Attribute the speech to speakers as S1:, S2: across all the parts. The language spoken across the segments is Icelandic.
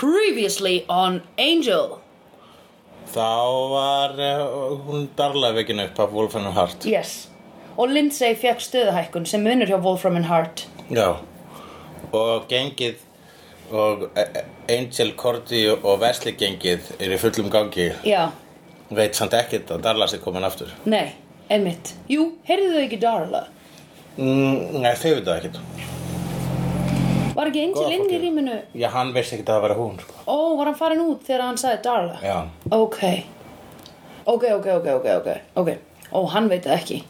S1: Previously on Angel
S2: Þá var uh, hún darlaði vekin upp af Wolfen and Hart
S1: Yes Og Lindsay fekk stöðahækkun sem munur hjá Wolfram and Hart
S2: Já Og gengið og eh, Angel, Cordy og Wesley gengið er í fullum gangi
S1: Já,
S2: veit samt ekkert að Darla sér komin aftur
S1: nei, einmitt Jú, heyrðu þau ekki Darla?
S2: mm, Nei, þau veit það ekkert
S1: Var ekki Angel
S2: Góða
S1: inn í
S2: fólkið.
S1: rýminu?
S2: Já, hann veist ekkert að það vera hún sko.
S1: Ó, var hann farin út þegar hann sagði Darla?
S2: Já,
S1: Ok Ok, ok, ok, ok, ok, ok Ó, hann veit það ekki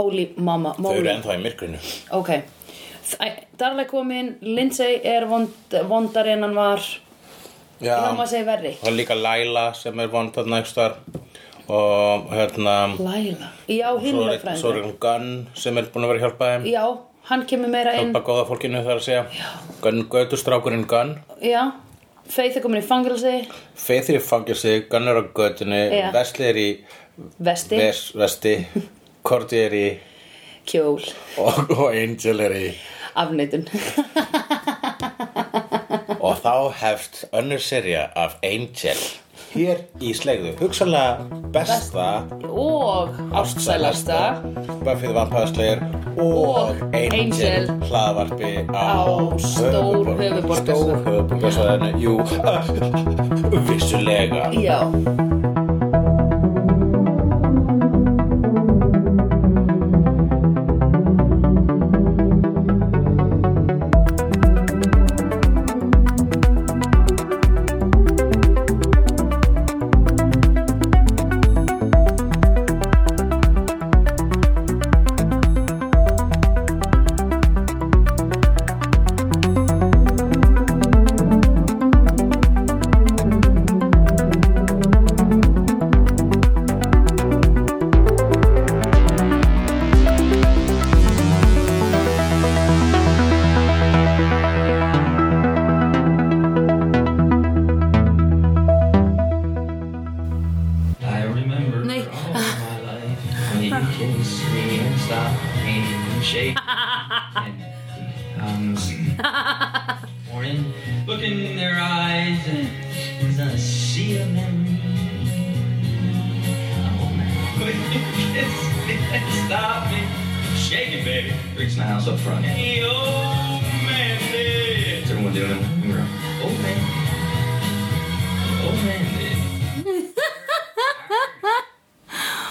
S1: Holy mama
S2: þau eru
S1: moly
S2: ennþá í myrkrinu
S1: Ok Æ, Darla komin, Lindsay er vond, vondar en hann var
S2: Já,
S1: Ég má segja verri
S2: og líka Laila sem er vond þarna ekstar og hérna
S1: Laila Já,
S2: svo
S1: hinlega
S2: er-
S1: frænda
S2: svo er hann Gunn sem er búin að vera að hjálpa þeim
S1: Já, hann kemur meira inn
S2: hjálpa góða fólkinu þar að segja Gunn, gödustrákurinn Gunn
S1: Já, Faith er komin í fangelsi
S2: Feithir í fangelsi, Gunn er á gödunni
S1: Já.
S2: Vesli er í
S1: Vesti,
S2: ves, vesti Korti er í
S1: kjól
S2: og, og Angel er í
S1: Afneitun
S2: og þá hefst önnur serja af Angel hér í slegðu, hugsanlega besta
S1: Og ástsælasta
S2: Buffy the Vampire Slayer og
S1: Og
S2: Angel
S1: Angel.
S2: hlaðvarpi á
S1: Á stór höfuðborgarsvæðinu.
S2: stór höfuborgarsvæðinu jú, vissulega
S1: Já
S3: I remember
S1: Nei.
S3: all my life when you kissed me and stopped me and shake and thumbs. Or in look in their eyes and as I see a memory. Oh, when you kissed me and stopped me, shake it, baby. Reach my house up front. Hey, oh man, hey. What's everyone doing? We're, Oh man, oh man. hey.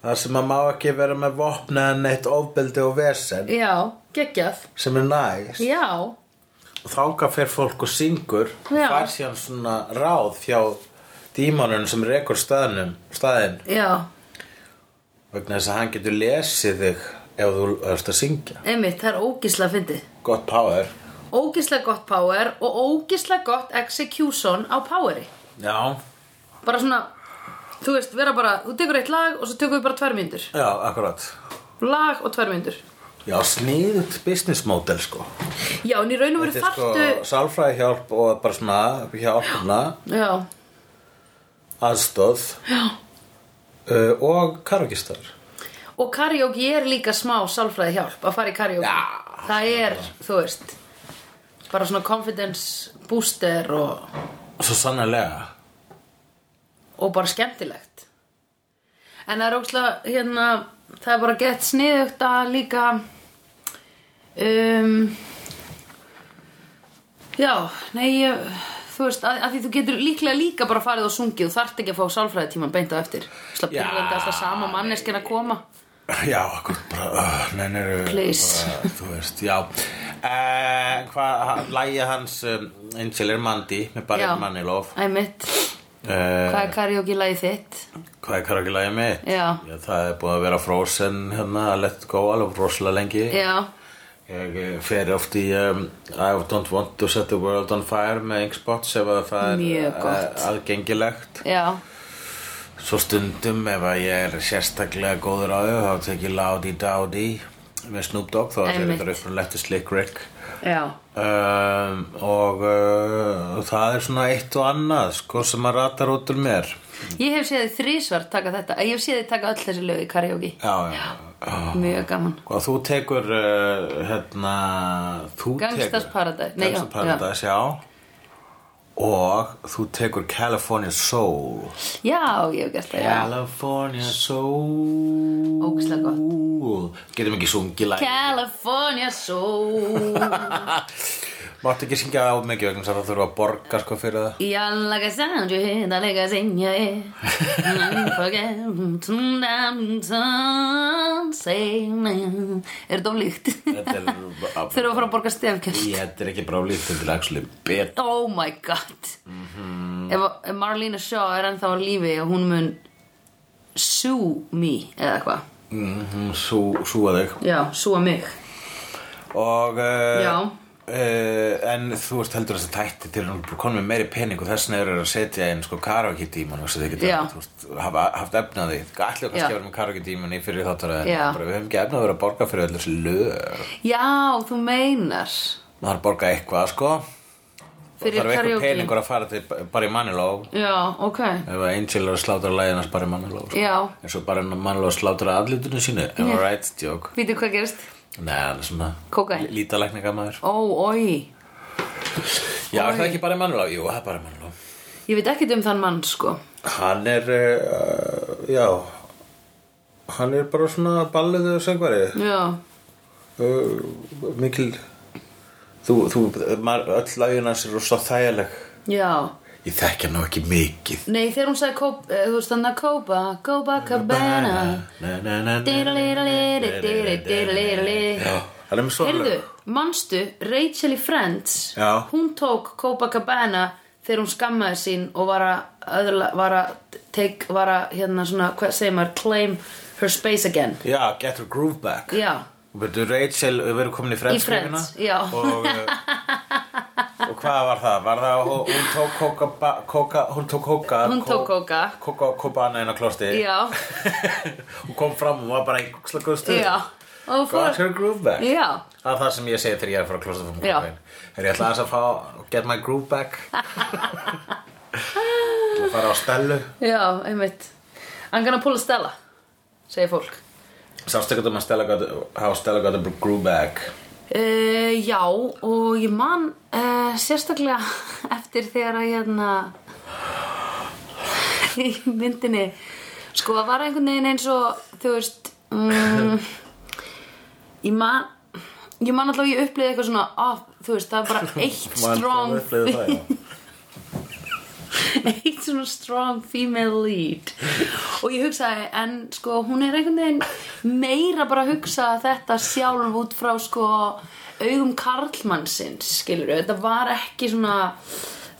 S2: þar sem að má ekki vera með vopna en eitt ofbeldi og vesen
S1: Já, geggjað
S2: sem er næs
S1: Já,
S2: og þáka fer fólk og syngur og
S1: Já.
S2: fær síðan svona ráð hjá dímanun sem rekur staðnum, staðin
S1: já,
S2: vegna þess að hann getur lesið þig ef þú ert að syngja
S1: einmitt, það er ógislega fyndið
S2: gott power
S1: Ógislega gott power og ógislega gott execution á poweri
S2: já,
S1: Bara svona, þú veist, vera bara Þú tekur eitt lag og svo tekur við bara tvær myndur
S2: já, akkurat
S1: Lag og tvær myndur
S2: já, sniðut business model sko
S1: Já, en í raun og veru
S2: þetta er sko
S1: þarftu
S2: sálfræði hjálp og bara svona hjálpna,
S1: Já,
S2: aðstóð já uh, og karokistar
S1: og karaoke er líka smá sálfræði hjálp að fara í karaoke
S2: Já.
S1: Það er, þú veist Bara svona confidence booster og,
S2: svo sannarlega
S1: og bara skemmtilegt En það er ógislega, hérna Það er bara gett sniðugt að líka Um Já, nei, ég, þú veist, að, að því þú getur líklega líka bara farið og sungið Þú þarft ekki að fá sálfræði tíman beint á eftir Slá
S2: Já.
S1: pyrrandi alltaf sama manneskinn að koma
S2: Já, okkur bara, uh, nennir
S1: Please.
S2: bara, Þú veist, já uh, Hvað, hann- lagið hans um, Angel er Mandy með
S1: Já.
S2: Barrett Manilow
S1: Æmitt,
S2: uh,
S1: hvað er karaoke lagið þitt?
S2: Hvað er karaoke lagið mitt?
S1: Já.
S2: Það er búið að vera frozen hérna að let go alveg rosalega lengi
S1: Já,
S2: Ég eh, fer oft í um, I don't want to set the world on fire með Inkspot sem að það er
S1: Mjög gott.
S2: eh, aðgengilegt
S1: já,
S2: Svo stundum ef að ég er sérstaklega góður á þau þá tek ég Ládi Dádi með Snoop Dogg þó að þetta er
S1: Einmitt.
S2: þetta upprunlegt til Slick Rick
S1: Já,
S2: um, og uh, það er svona eitt og annað sko sem að ratar út úr mér
S1: ég hef séð þið þrísvar taka þetta Ég hef séð þið taka öll þessi lög í karaoke
S2: Já, já, já
S1: Mjög gaman
S2: Og þú tekur, uh, hérna, þú
S1: Gangsters
S2: tekur...
S1: Paradise. Nei, já,
S2: Gangsters Paradise, já. Og þú tekur California Soul.
S1: Já, ég hef gert það, já
S2: California Soul.
S1: Ógeðslega
S2: Getum ekki sungið læg.
S1: California Soul
S2: Máttu ekki syngja á mikið vegna þess að það þurfa að borga sko fyrir það.
S1: Já, like a sound you hear, það leika hérna að syngja ég Don't Forget, tundam, tundam, segna Er þetta of líkt?
S2: Þetta er...
S1: Þurfa að fara að borga stefkjöld
S2: Ég, þetta er ekki bara lítið til actually bet.
S1: Oh my god
S2: Mhm.
S1: ef, ef Marlena Shaw er ennþá á lífi og hún mun Sue me eða eitthvað
S2: Mm -hmm, sú, súa þig.
S1: Já, súa mig
S2: og uh,
S1: Já.
S2: uh, en þú ert heldur þess að þætti til að konu með meiri pening og þess vegna eru þeir að setja inn sko karaoke tíman og þess að þið
S1: Já.
S2: geta þú veist, hafa haft efnaði allir kannski
S1: Já.
S2: að vera með karaoke tíman í fyrir þáttur að
S1: Já.
S2: bara, við hefum ekki efnaði að vera að borga fyrir allir þessi lög
S1: Já, þú meinar
S2: maður þarf að borga eitthvað sko
S1: Fyrir
S2: þarf eitthvað
S1: karaoke.
S2: peningur að fara til bara í Maniló
S1: Já, ok
S2: ef að Angel er að slátra læginars bara í Maniló sko.
S1: Já.
S2: eins og bara Maniló slátra aðlutinu sínu am I right, joke
S1: Vítu hvað gerist?
S2: Nei, hann er svona
S1: Kókaín.
S2: lítalækninga maður
S1: Ó, oi
S2: Já, er það ekki bara í Maniló? Jú, það er bara í Maniló
S1: Ég veit ekkert um þann mann, sko
S2: Hann er, uh, já, hann er bara svona balluðu söngvari,
S1: Já,
S2: uh, mikil, þú, þú, maður, öll lagin hans er rosa þægileg.
S1: já
S2: Ég þekki hann nú ekki mikið.
S1: Nei, þegar hún sagði Cob- eh, þú veist hann að Copa Copa Cabana
S2: Já, hann er með svona
S1: Heyrðu, manstu, Rachel í Friends
S2: Já.
S1: Hún tók Copacabana þegar hún skammaði sín og var að öðla, var að take, var að hérna svona, hvað segir maður claim her space again
S2: Já, get her groove back.
S1: Já,
S2: Verður Rachel, við verðum komin í Friends
S1: Í Friends,
S2: lífina.
S1: já.
S2: Og, uh, og hvað var það? Var það, að hún tók kóka, ba- kóka, hún tók kóka.
S1: Hún tók kóka.
S2: Kóka, kóka annað inn á klosti.
S1: já,
S2: hún kom fram og var bara í slaggóðu stuð.
S1: já Og hún
S2: Got
S1: fór
S2: her groove back.
S1: Já,
S2: Það er það sem ég segi þegar ég er að fara að klosta fyrir
S1: Já.
S2: kókain. Er ég ætla aðeins að fá, get my groove back. Ég ætla að fara á stelu.
S1: já, einmitt I'm gonna pull a Stella, segir fólk
S2: Sástu ekki um að stela gott, how stela got her groove back.
S1: Uh, já, og ég man uh, sérstaklega eftir þegar að hérna í myndinni sko það var einhvern veginn eins og þú veist um, ég man ég man alltaf að ég upplýði eitthvað svona oh, þú veist það var bara eitt strong
S2: Man, það upplifði það, já.
S1: eitt svona strong female lead og ég hugsaði en sko hún er einhvern veginn meira bara að hugsa þetta sjálf út frá sko augum karlmannsins skilur þetta var ekki svona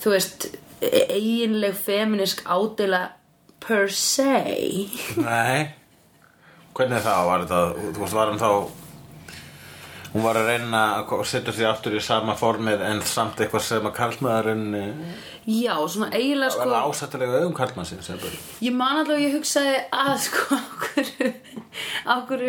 S1: þú veist e- eiginleg feminisk ádela per se
S2: Nei Hvernig þá var þetta? Þú veist, var hann þá Hún var að reyna að ko- setja sig aftur í sama formið en samt eitthvað sem að karlmaðurinn eh,
S1: já svona eiginlega sko
S2: var ásættilega auðum karlmannsinn sem bara
S1: Ég man allavega, ég hugsaði að sko okkur, okkur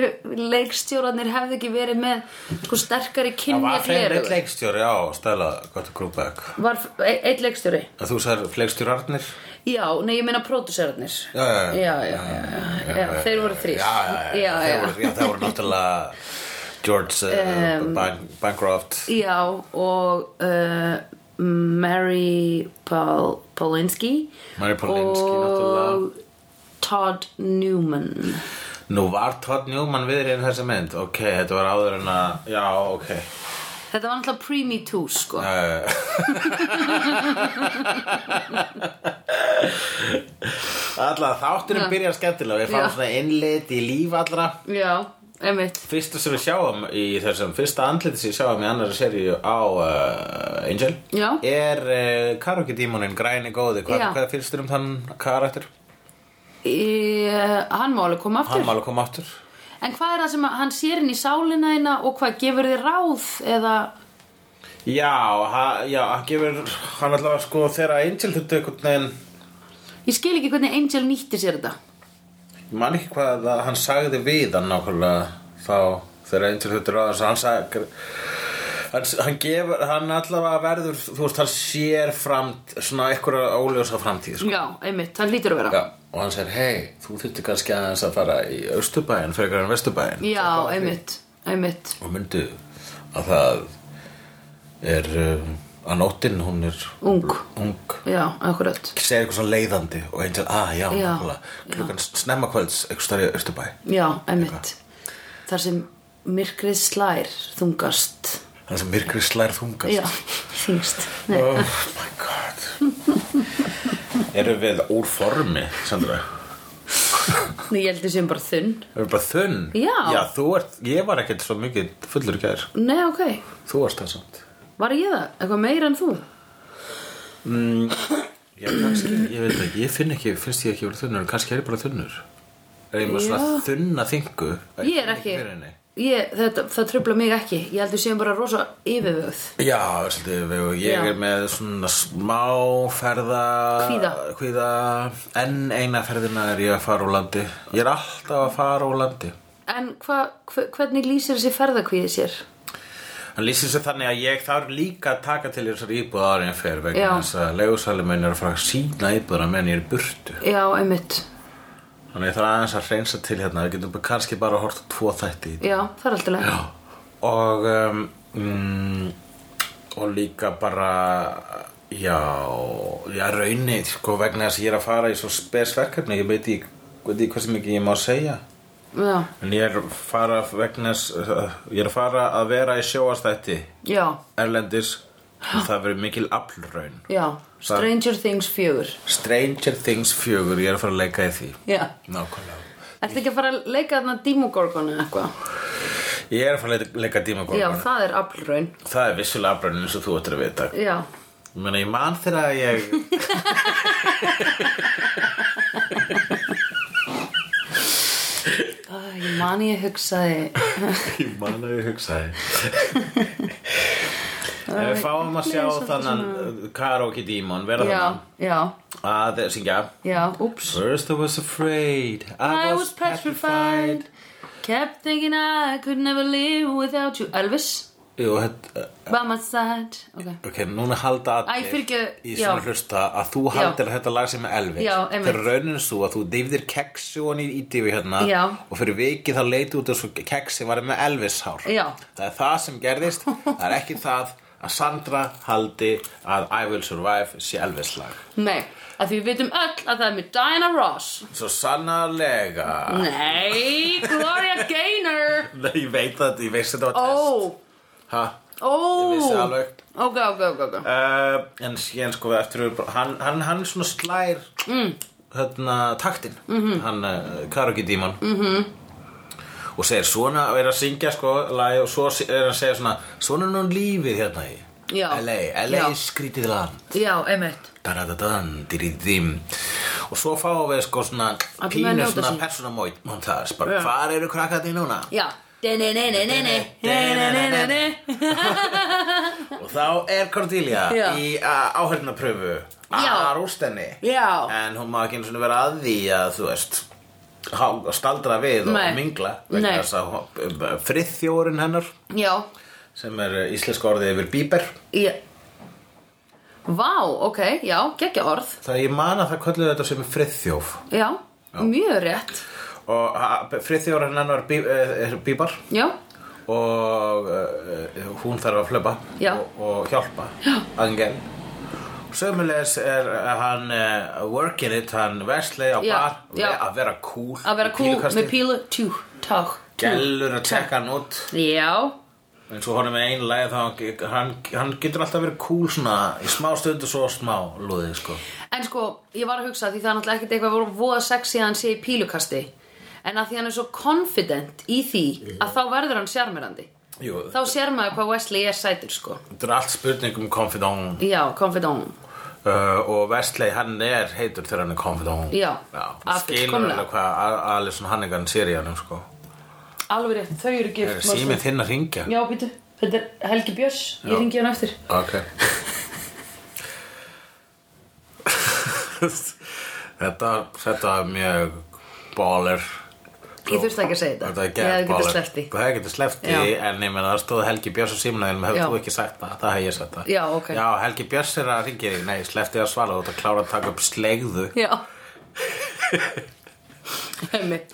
S1: leikstjóranir hefði ekki verið með sko sterkari
S2: Það
S1: kynja
S2: var þeim eitt leikstjóri, já, stæla, gott að grúpa ekki
S1: Var f- e- einn leikstjóri?
S2: Að þú sagðir leikstjórarnir Já,
S1: Já, nei, ég meina pródúserarnir.
S2: já, já,
S1: já, já, já, já, þeir voru þrýr.
S2: Já, já, já,
S1: já,
S2: þeir voru- já, það voru náttúrulega George uh,
S1: Um,
S2: Ban Bancroft
S1: Já, og uh, Mary Pol Polinsky.
S2: Mary Polinsky,
S1: og
S2: náttúrulega.
S1: Todd Newman.
S2: Nú var Todd Newman viðrið í þessi mynd Ok, þetta var áður en að Já, ok
S1: Þetta var náttúrulega pre-me too, sko.
S2: Eh. Alla þátturinn byrjar skemmtilega Við fáum
S1: Já.
S2: svona innlit í líf allra
S1: Já, einmitt.
S2: Fyrsta sem við sjáum í þessum Fyrsta andliti sem við sjáum í annari seríu á uh, Angel
S1: Já.
S2: Er uh, karaoke dímonin græni góði Hvað,
S1: Já.
S2: hvað finnst þér um þann karakter?
S1: Í, uh, hann má alveg koma aftur.
S2: Hann má alveg koma aftur
S1: En hvað er það sem að- hann sér inn í sálina eina og hvað gefur þið ráð eða...
S2: Já, ha, já, hann gefur Hann allavega sko þegar Angel þurfti einhvern veginn
S1: Ég skil ekki hvernig Angel nýtti sér þetta
S2: Ég man ekki hvað að hann sagði við hann nákvæmlega þá þegar einn til hlutur á þess að hann sagði hann, hann gefur, hann allavega verður þú veist, hann sér fram svona einhverja óljósa framtíð sko.
S1: Já, einmitt, það hlýtur að vera
S2: Já, og hann segir, hei, þú þurfti kannski aðeins að fara í Östurbæin frekar en Vesturbæin
S1: Já, einmitt, einmitt
S2: og myndu að það er uh, að nóttin hún er
S1: Ung.
S2: ung.
S1: Já, akkurat
S2: segir eitthvað svona leiðandi og einn til, ah, já,
S1: Já,
S2: nákvæmlega. klukkan snemma kvölds eitthvað starfið Östurbæ
S1: Já, einmitt Þar sem myrkrið slær þungast
S2: það sem myrkrið slær þungast
S1: Já, þingst Nei,
S2: oh my god erum við úr formi Sandra,
S1: ég held við sem bara þunn
S2: erum við bara þunn
S1: Já.
S2: þú ert, ég var ekkert svo mikið fullur í gær,
S1: Nei, ok,
S2: þú varst það samt
S1: var ég það? Eitthvað meira en þú?
S2: Já, kannski, ég veit ekki, ég finn ekki, finnst ég ekki verið þunnur, en kannski er ég bara þunnur. Er ég með svona
S1: Já.
S2: þunna þingu?
S1: Ég er ekki
S2: fyrir henni.
S1: ég, þetta, Það trubla mig ekki Ég held við séum bara rosa yfirvöð
S2: Já, svolítið, við- og ég
S1: Já.
S2: er með svona smá ferða...
S1: Kvíða.
S2: Kvíða, enn eina ferðina er ég að fara úr landi. Ég er alltaf að fara úr landi.
S1: En hva, hve- hvernig lýsir þessi ferðakvíði sér?
S2: Hann lýsir sér þannig að ég þarf líka að taka til þessar íbúð ára en fer vegna
S1: Já.
S2: þess að legusalum minn er að fara að sína íbúðuna meðan ég er í burtu.
S1: Já, einmitt
S2: Þannig að ég þarf aðeins að reynsa til hérna, við getum kannski bara að horta tvo þætti í
S1: Já, það er alltaf leið
S2: og um, mm, og líka bara já, já raunni sko vegna þess að ég er að fara í svo spes verkefni ég veit ekki, veit ekki hversu mikið ég má segja
S1: Já,
S2: en ég er að fara vegna þess uh, ég er að fara að vera í sjóastætti
S1: já,
S2: erlendis og það verið mikil aflraun
S1: já
S2: Það-
S1: Stranger Things 4
S2: Stranger Things 4, ég er að fara að leika í því
S1: Já
S2: nákvæmlega
S1: Ertu ekki að fara að leika þarna Demogorgon eða eitthvað?
S2: ég er að fara að leika- leika
S1: Já,
S2: dímagorgona
S1: það er aflraun
S2: það er vissulega aflraun eins og þú ættir að vita
S1: Já,
S2: Ég meina, ég man þegar að ég
S1: Æ, ég man ég hugsaði
S2: Ég man að ég hugsaði Ef við fáum að sjá þannan karaoke dímon vera
S1: Já,
S2: þannan
S1: já,
S2: að syngja
S1: já, úps
S2: First I was afraid
S1: I was petrified Kept thinking I could never live without you Elvis
S2: Jú, þetta
S1: By my side okay.
S2: Ok, núna halda
S1: Æ, fyrirgefðu,
S2: í
S1: já.
S2: svona hlusta að þú haldir að þetta lag sem er Elvis
S1: Já, einmitt.
S2: Þegar raunin svo að þú deyfðir keksu og nýr ítífi hérna
S1: Já.
S2: og fyrir viki þá leiti út þessu keksi var með Elvis hár
S1: Já.
S2: Það er það sem gerðist, það er ekki það að Sandra haldi að I Will Survive sé Elvis lag
S1: Nei, að því við vitum öll að það er með Diana Ross
S2: Svo sannarlega
S1: Nei, Gloria Gaynor
S2: Nei, ég veit það, ég veist þetta var test
S1: Ó,
S2: Ha,
S1: ó
S2: ég vissi alveg
S1: Ok, ok, ok, ok
S2: uh, En síðan sko eftir við bara- hann, hann, hann svona slær mm. hérna, taktin -hmm. Hann uh, karaoke díman -hmm. Og segir svona og er að syngja sko lag, og svo er að segja svona Svona er nú lífið hérna í
S1: Já.
S2: LA, LA
S1: Já.
S2: skrítið land
S1: Já, einmitt
S2: Daradadan, diridim Og svo fáum við sko svona
S1: Allir með að
S2: pínu
S1: njóta
S2: svona
S1: sín.
S2: persónamót montage, bara
S1: Já.
S2: hvar eru krakkandi núna?
S1: Já Nei-nei-nei-nei-nei
S2: Og þá er Cordelia
S1: Já.
S2: í áhörnapröfu
S1: Já.
S2: að rústenni
S1: Já.
S2: En hún má ekki einu svona vera að því að þú veist há- staldra við og
S1: Nei.
S2: mingla
S1: Nei.
S2: vegna þess að hún- friðþjórinn hennar
S1: Já,
S2: sem er eh, íslensk orðið yfir bíber
S1: já Vá, ok, já, geggja orð
S2: það ég man að það kölluðu þetta sem friðþjóf
S1: Já, mjög rétt
S2: og ha- friðþjórinn hennar bí, eh, er bíbar
S1: Já,
S2: og uh, hún þarf að flöpa
S1: Já.
S2: og, og hjálpa Angel Sömulegis er uh, hann uh, working it, hann verslið á
S1: Já,
S2: bar
S1: já.
S2: að vera cool
S1: að vera
S2: í
S1: cool
S2: pílukasti.
S1: með pílu Tjú, ták
S2: Gellur að tekka hann út
S1: Já,
S2: En svo honum er einu lagi þá hann ge- hann, hann getur alltaf verið cool svona í smá stund og svo smá lúðið sko
S1: En sko, ég var að hugsa því það er náttúrulega ekkert eitthvað voru voða sexy að hann sé í pílukasti En að því hann er svo confident í því að þá verður hann sjarmirandi
S2: Jú,
S1: Þá sér maður hvað Wesley er sætur sko
S2: þetta er allt spurning um confidant
S1: Já, confident
S2: uh, og Wesley hann er heitur þegar hann er confident
S1: Já,
S2: Já
S1: að
S2: þú skilur
S1: fullkomlega.
S2: alveg hvað A- Alison Hannigan sér í hann sko
S1: Alveg rétt, þau eru gift
S2: Er
S1: maður
S2: Eh, síminn
S1: svo-
S2: þinn að ringja?
S1: Já, býtu, þetta er Helgi Björns,
S2: Já.
S1: ég ringi hann eftir
S2: Ok Þetta, þetta er mjög baller
S1: Ég þurfti ekki að segja þetta.
S2: Þetta er
S1: Ég hefði
S2: gett
S1: getað sleppt því.
S2: Þú hefði getur sleppti,
S1: Já.
S2: en ég meina það stóð Helgi Björns á símnaðinum, hefði
S1: Já.
S2: þú ekki sagt það, það hef ég sagt það
S1: Já, ok.
S2: Já, Helgi Björns er að ringi þig, nei, sleppti að svara, þú ert að klára að taka upp slegðu
S1: Já Einmitt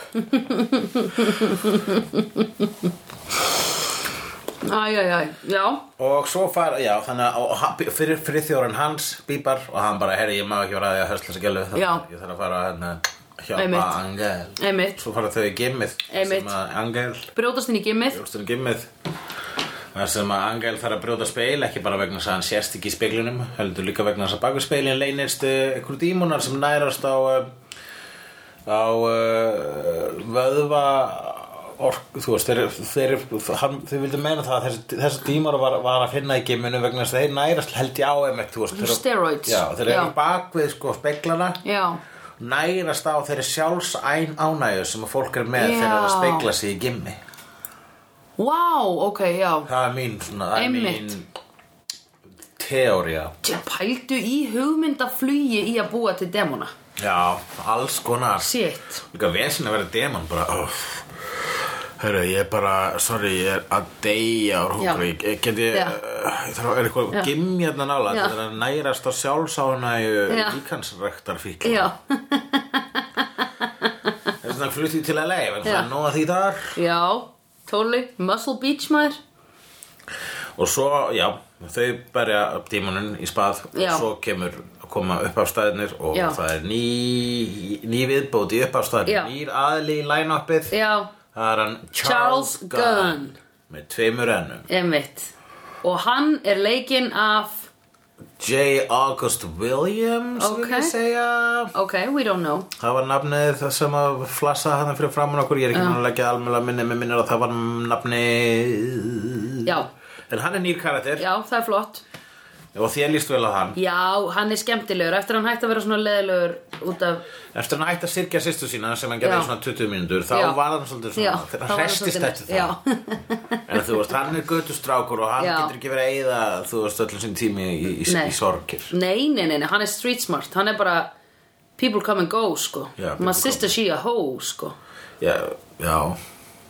S1: Æj, æj, æj, já
S2: Og svo far, já, þannig að og hann- fyrir, fyrir þjórun hans bíbar og hann bara, herri, ég má ekki vera að því að hörsla sig gælu þannig
S1: Já.
S2: að ég þarf að fara hérna hjálpa
S1: Einmitt.
S2: Angel
S1: Einmitt.
S2: Svo fara þau í gimmið
S1: Einmitt.
S2: sem að Angel,
S1: Brjótast inn í gimmið
S2: brjóstunum gimmið þar sem að Angel þarf að brjóta speil ekki bara vegna þess að hann sést ekki í speilunum heldur líka vegna þess að baku speilin leynist uh, einhverjum dímunar sem nærast á uh, á uh, vöðva ork, þú veist, þeir, þeir, hann, þeir vildu meina það að þessi, þessi dímar var, var að finna í geiminu vegna þess að þeir nærast held ég á emitt, þú veist, þeir,
S1: Steroids.
S2: já, þeir eru
S1: Já.
S2: bakvið sko speglana
S1: Já,
S2: nærast á þeirri sjálfsæn ánægju sem að fólk er með
S1: Já.
S2: þegar það spegla sig í gimmi
S1: vá, ok, já
S2: það er mín, svona, það er
S1: Einmitt.
S2: mín teória
S1: Tjá, Pældu í hugmyndaflugi í að búa til demona
S2: já, alls konar
S1: Shit
S2: Líka vesin að vera demon bara oh. Hörru, ég er bara, sorry, ég er að deyja úr hungri,
S1: Já.
S2: Ég- get ég,
S1: Já.
S2: uh, ég þarf að er eitthvað
S1: Já.
S2: gimmjarna nála,
S1: Já.
S2: þetta er að nærast á sjálfsánæju
S1: Já.
S2: líkansrektar fíkla.
S1: Já,
S2: Þess vegna flutti ég til að leið, en
S1: Já.
S2: það er nóg að því þar.
S1: já, tóli, muscle beach maður
S2: Og svo, já, þau berja upp dímonun í spað
S1: Já.
S2: og svo kemur að koma upp af staðinir og
S1: Já.
S2: það er ný, ný viðbót í upp af
S1: Já.
S2: staðinir, nýr aðli í line-upið.
S1: Já,
S2: Það er hann Charles,
S1: Charles
S2: Gunn.
S1: Gunn.
S2: með tveimur ennum.
S1: einmitt Og hann er leikinn af
S2: J. August Williams
S1: Ok.
S2: vil ég segja
S1: Ok, we don't know
S2: Það var nafnið það sem að flassa hann fyrir framann okkur Ég er ekki uh. að leggja almjöla minni með minnir að það var nafnið
S1: Já,
S2: En hann er nýr karakter
S1: já, það er flott
S2: og þér líst vel á hann
S1: Já, hann er skemmtilegur Eftir að hann hætti að vera svona leðilegur út af
S2: Eftir hann hætti að sirkja sýstu sína sem hann gerði
S1: Já.
S2: í svona 20 mínútur Þá
S1: Já.
S2: var hann svolítið svona
S1: Já, þá var
S2: Þegar hann
S1: hann
S2: hrestist
S1: svolítið-
S2: eftir það En þú veist, hann er götustrákur og hann
S1: Já.
S2: getur ekki verið að eyða Þú veist, öllum sín tími í, í, í,
S1: Nei.
S2: í sorgir
S1: Nei, nei, nei, nei, hann er street smart Hann er bara People come and go, sko
S2: Já, people
S1: My sister, she a hoe, sko
S2: Já, já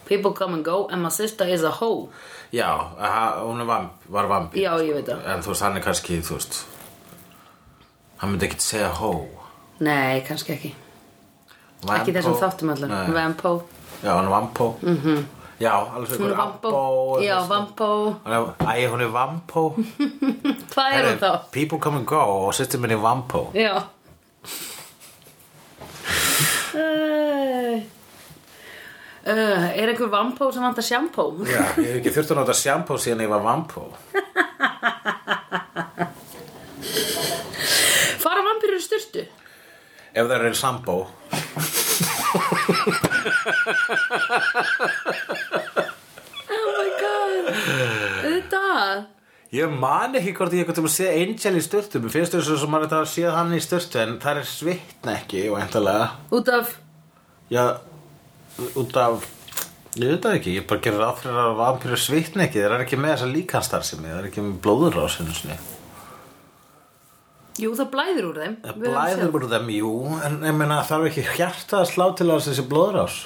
S1: People come and go and my sister is a hoe
S2: Já, aha, hún er vamp, var vampi sko.
S1: Já, ég veit það.
S2: En þú veist, hann er kannski, þú veist Hann myndi ekkit segja hó
S1: Nei, kannski ekki
S2: Vampó.
S1: Ekki þessum þáttum allan
S2: Nei.
S1: Vampo
S2: Já, hann er vampó mm -hmm. Já, alveg
S1: Hún er vampó Já, vampó
S2: Æ, hún er vampó
S1: Hvað er hún þá?
S2: People come and go og sýstir minni vampó
S1: Já Æ. Uh, er einhver vampó sem vantar sjampó?
S2: Já, ég hef ekki þurft að nota sjampó síðan ég var vampó
S1: Fara vampirur styrtu?
S2: Ef það eru sambó
S1: Oh my god Þetta
S2: Ég man ekki hvort ég eitthvað að sé Angel í styrtu Mér finnst þessu sem maður þetta að séð hann í styrtu En það er svitna ekki, væntalega
S1: Út af
S2: Já, út af Ég veit það ekki, ég bara gerir ráð fyrir að vampýru svitni ekki, þeir eru ekki með þessa líkanstar sem ég, þeir eru ekki með blóður á sinu sinni.
S1: Jú, það blæður úr þeim
S2: Það
S1: Við höfum séð.
S2: blæður úr þeim, jú, en ég meina þarf ekki hjarta að slá til að þessi blóður ás.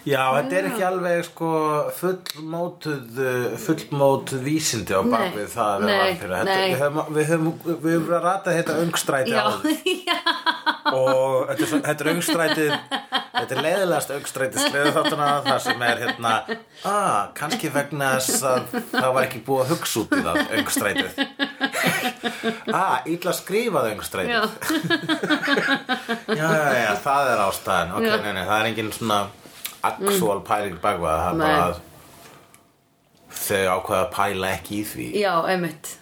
S2: Já, þetta er ekki alveg sko fullmótuð, uh, fullmótuð vísindi á bakvið
S1: Nei,
S2: það að vera
S1: nei,
S2: vampýra. Þetta-
S1: nei.
S2: Við höfum, við höfum, við höfum verið að rata þetta ungstræti á því.
S1: Já,
S2: og þetta er, svo- þetta er augstrætið þetta er leiðilegast augstrætið sleðu þáttuna þar sem er hérna ah, kannski vegna þess að það var ekki búið að hugsa út í það augstrætið ah, illa skrifað augstrætið
S1: já,
S2: já. já, já, það er ástæðan ok,
S1: Já. Mm.
S2: nei, nei, það er engin svona actual pæling bakvað það er bara
S1: Nei.
S2: að þau ákveða að pæla ekki í því
S1: já, einmitt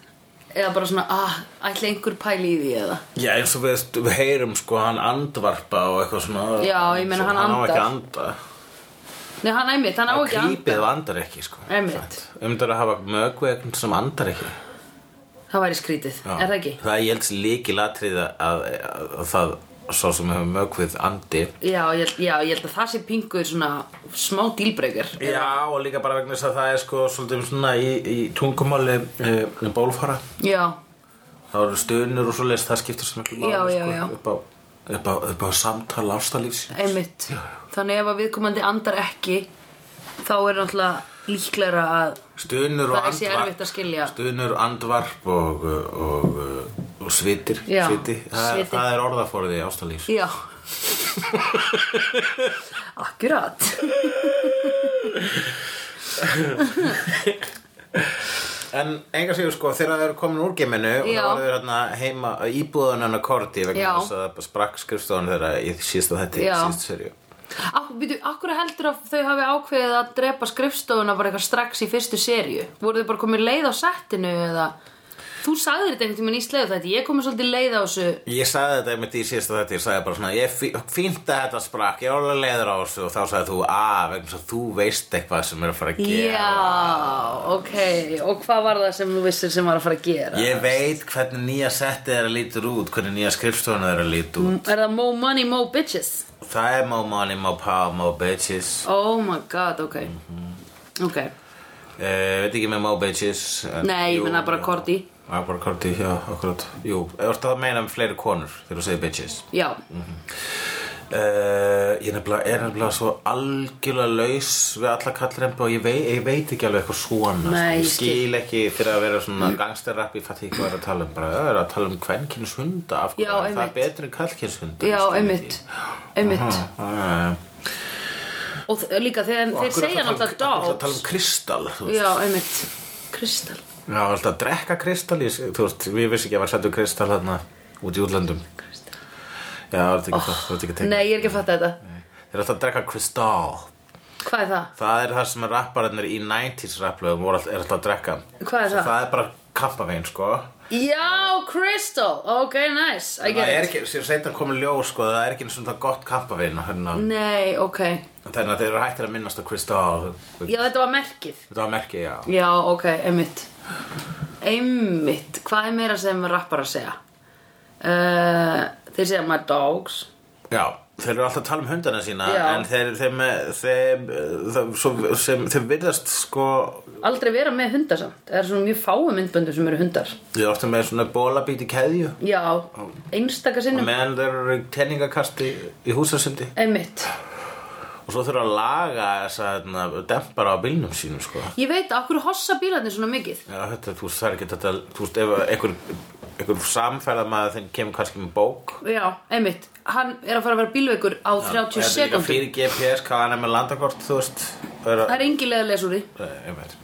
S1: Eða bara svona, ah, ætli einhver pæli í því eða
S2: Já, eins og við, við heyrum sko hann andvarpa og eitthvað svona
S1: Já, ég meina, hann
S2: Hann á ekki að
S1: andar.
S2: anda
S1: Nei, hann einmitt, hann á
S2: Það
S1: ekki að anda.
S2: Krípið andar ekki sko
S1: Einmitt.
S2: Um þetta að hafa mögvegn sem andar ekki
S1: Það væri skrítið,
S2: Já.
S1: er það ekki?
S2: Það er ég helst líkilatrið að, að, að það Svo sem hefur mögvið andi
S1: Já, ég, held- já, ég held að það sé pingur svona smá dílbreykar
S2: Já og líka bara um vegna þess að það er sko Svolítið svona í, í tungumáli uh, Bólfara
S1: Já,
S2: eh, Það eru stunur og svo leist, það skiptir svo miklu máli sko,
S1: Já, já, já.
S2: Upp, á, upp, á, upp á samtal ástallífsins
S1: einmitt þannig ef að viðkomandi andar ekki þá er náttúrulega líklegra að
S2: Stunur og
S1: Það er sé erfitt
S2: andvarp
S1: að skilja.
S2: Stunur, andvarp og, og, og, og svitir
S1: Já,
S2: Sviti, það,
S1: sviti.
S2: sviti. það er orðaforði ástallífs
S1: já akkurat
S2: En enga sigur sko, þegar það eru komin úr geiminu og
S1: Já.
S2: það voru þeir hérna heima íbúðan hennar Korti
S1: Já.
S2: vegna þess að það sprakk skrifstofan þeirra í síðasta þetta,
S1: Já.
S2: síðasta serju
S1: Akkur, byrju, akkur heldur að þau hafi ákveðið að drepa skrifstofuna bara eitthvað strax í fyrstu serju? Voru þau bara komið leið á settinu eða? Þú sagðir þetta einhvern tímann í sleðu þetta, ég komið svolítið leið á þessu
S2: Ég sagði þetta einmitt í síðasta þetta, ég sagði bara svona, ég fí- fínt að þetta sprakk, ég er alveg leiður á þessu og þá sagði þú, að, vegna þess að þú veist eitthvað sem er að fara að gera.
S1: Já, ok, og hvað var það sem þú vissir sem var að fara að gera?
S2: Ég veit hvernig nýja settið þeirra lítur út, hvernig nýja skrifstofuna þeirra lítur út.
S1: Er það more money, more bitches?
S2: Það er more money, more power, more bitches.
S1: Oh my god, ok
S2: Mhm.
S1: Ok,
S2: Uh, veit ekki með more bitches. En,
S1: nei, ég
S2: jú,
S1: menna bara
S2: já.
S1: Korti
S2: Já, bara korti, já, akkurat. Jú, orðið að meina um fleiri konur þegar þú segir bitches.
S1: Já,
S2: Uh, ég nefnilega, er nefnilega svo algjörlega laus við alla kallrempu og ég, vei, ég veit ekki alveg eitthvað svona
S1: Nei, ég
S2: sko. ég skil ekki fyrir að vera svona gangsterrapp ég fatt ekki hvað er að tala um bara það er að tala um kvenkins hunda af
S1: Já,
S2: hverju er það
S1: einmitt.
S2: er betur en kallkins hunda
S1: já, einmitt Einmitt
S2: þeir
S1: Og þ- líka þegar þeir segja náttúrulega
S2: að tala um
S1: dogs
S2: kristall þú veist.
S1: Já, einmitt Kristall
S2: já, alltaf að drekka kristall ég, þú veist, ég vissi ekki að var sendur kristall þarna út í útlöndum já, þú veist ekki, oh, það, ekki tekið.
S1: Nei, ég er ekki að fatta þetta
S2: þeir eru alltaf að drekka kristall
S1: Hvað er það?
S2: Það er það sem rappararnir í 90s rapplöfum voru alltaf, er alltaf að drekka
S1: Hvað er það?
S2: Það er bara kampavín sko
S1: Já, Crystal, ok, nice I
S2: Það
S1: get
S2: er
S1: it
S2: ekki, sér seinna komið ljó sko Það er ekki eins og það gott kampavín hérna.
S1: Nei, ok
S2: Þannig að þeir eru hættir að minnast á Kristall
S1: Já, þetta var merkið
S2: Þetta var merki, já
S1: Já, ok, einmitt Einmitt, hvað er meira sem rappar að segja? Uh, þeir segja my dogs
S2: Já, þeir eru alltaf að tala um hundana sína
S1: Já.
S2: En þeir, þeim, þeim, þeim, svo, sem, þeim virðast sko
S1: Aldrei vera með hundar samt Það er svona mjög fáu myndböndu sem eru hundar
S2: Þeir eru ofta með svona bólabít í keðju
S1: Já, einstaka
S2: Og
S1: sinnum
S2: meðan þeir eru í tenningakasti í húsasundi
S1: Einmitt
S2: Og svo þurfa að laga þess að dempara á bílnum sínum sko
S1: Ég veit, af hverju hossa bílarnir svona mikið
S2: Já, þetta, þú veist, það er ekki þetta, þú veist, ef einhver, einhver samferðamaður þinn kemur kannski með bók
S1: Já, einmitt Hann er að fara að vera bílveikur á 30
S2: Þetta er líka
S1: sekundum
S2: fyrir GPS, hvað hann er með landakort, þú veist Það
S1: Það er engin leið að lesa úr því
S2: einmitt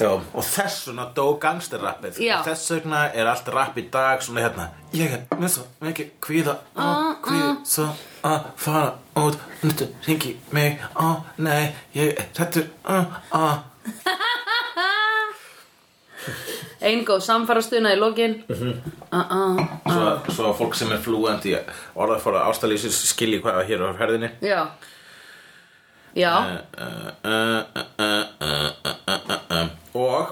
S2: Já, og þess vegna dó gangsterrappið
S1: Já.
S2: og þess vegna er allt rapp í dag svona hérna Ég er með svo mikið kvíða
S1: Ah,
S2: og kvíða að fara út Nuttu ringi mig, ó nei, ég er hættur, á, á
S1: Ein góð samfærastuna í lokin
S2: Mhm.
S1: Uh-uh.
S2: Svo að- Svo að fólk sem er flúandi orðafóra ástæðlýsir skilji hvað er hér á herðinni
S1: Já Já,
S2: Eh. og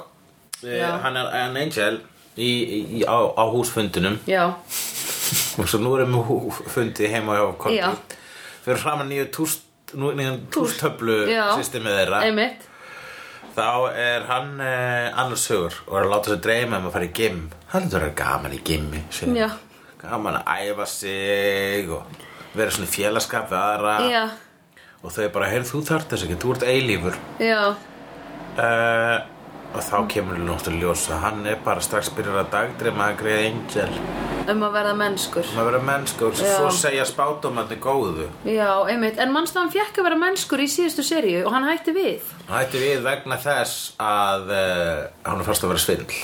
S2: eh,
S1: Já.
S2: hann er en Angel í, í, á, á húsfundinum
S1: já
S2: og svo nú erum við hú- fundi heima hjá
S1: Já.
S2: Korti fyrir framan nýju túst nú nýjan tústöflu
S1: Já.
S2: systemið þeirra
S1: Einmitt
S2: þá er hann eh, annars hugur og er að láta sér dreyma um að fara í gym hann er það gaman í gymmi segir
S1: Já.
S2: hann. gaman að æfa sig og vera svona í félagskap við aðra
S1: Já,
S2: og þau bara, heyrðu þú þarft þess ekki, þú ert eilífur
S1: já,
S2: uh, og þá
S1: Mm.
S2: kemur náttúrulega ljós að hann er bara strax byrjar að dagdreima að greið Angel
S1: um að verða mennskur
S2: um að vera mennsku og
S1: Já.
S2: svo segja spátumandi góðu
S1: Já, einmitt, en mannstu að hann fjekk að vera mennskur í síðustu seríu og hann hætti við
S2: og hætti við vegna þess að uh, hann er fast að vera svindl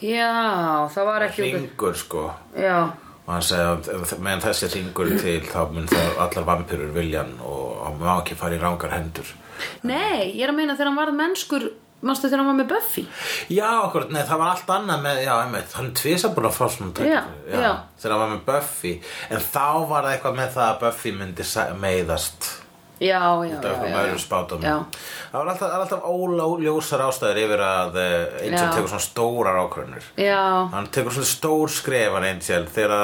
S1: Já, það var ekki
S2: ringur sko
S1: Já,
S2: og hann segja að ef- meðan þessi ringur er til þá mun það allar vampirur viljan og hann má ekki fara í rángar hendur
S1: nei, ég er að meina þegar hann varð mennskur Manstu þegar hann var með Buffy
S2: Já, okkur, nei, það var allt annað með, já, einmitt, hann tvisa búin að fá svona
S1: Já, já.
S2: Þegar hann var með Buffy, en þá var það eitthvað með það að Buffy myndi sa- meiðast
S1: Já, já, já,
S2: Döfum
S1: já,
S2: öðrum spátum
S1: Já.
S2: Það var alltaf, það var alltaf óljósar ástæður yfir að eh, Angel
S1: Já.
S2: tekur svona stórar ákvörnur
S1: já, já
S2: Hann tekur svona stór skrefan Angel þegar,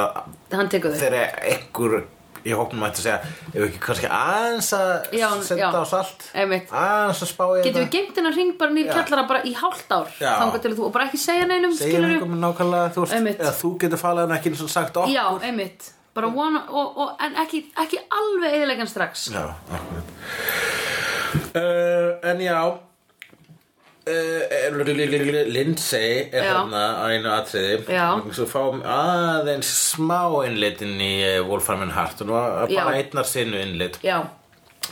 S1: hann tekur þau
S2: þegar ekkur í hóknum mætti að segja ef við ekki kannski aðeins að
S1: Já,
S2: senda
S1: já.
S2: á salt
S1: Einmitt.
S2: aðeins að spá í
S1: Getum við geimt hennar hring bara nýr
S2: Já.
S1: kjallara bara í hálft ár
S2: Já.
S1: Þangar til þú og bara ekki segja neinum
S2: segja
S1: skilurðu?
S2: einhverjum nákvæmlega þú,
S1: Einmitt.
S2: veist, eða þú getur falað en ekki eins og sagt okkur
S1: Já, einmitt Bara vona, og, og, en ekki, ekki alveg eðilegan strax
S2: Já, akkurat uh, En já uh, Lindsay er
S1: Já.
S2: þarna á einu atriði
S1: Já.
S2: Svo fáum aðeins smá innlit inn í eh, Wolfram and Hart og nú bara
S1: Já.
S2: einnar sinu innlit
S1: Já,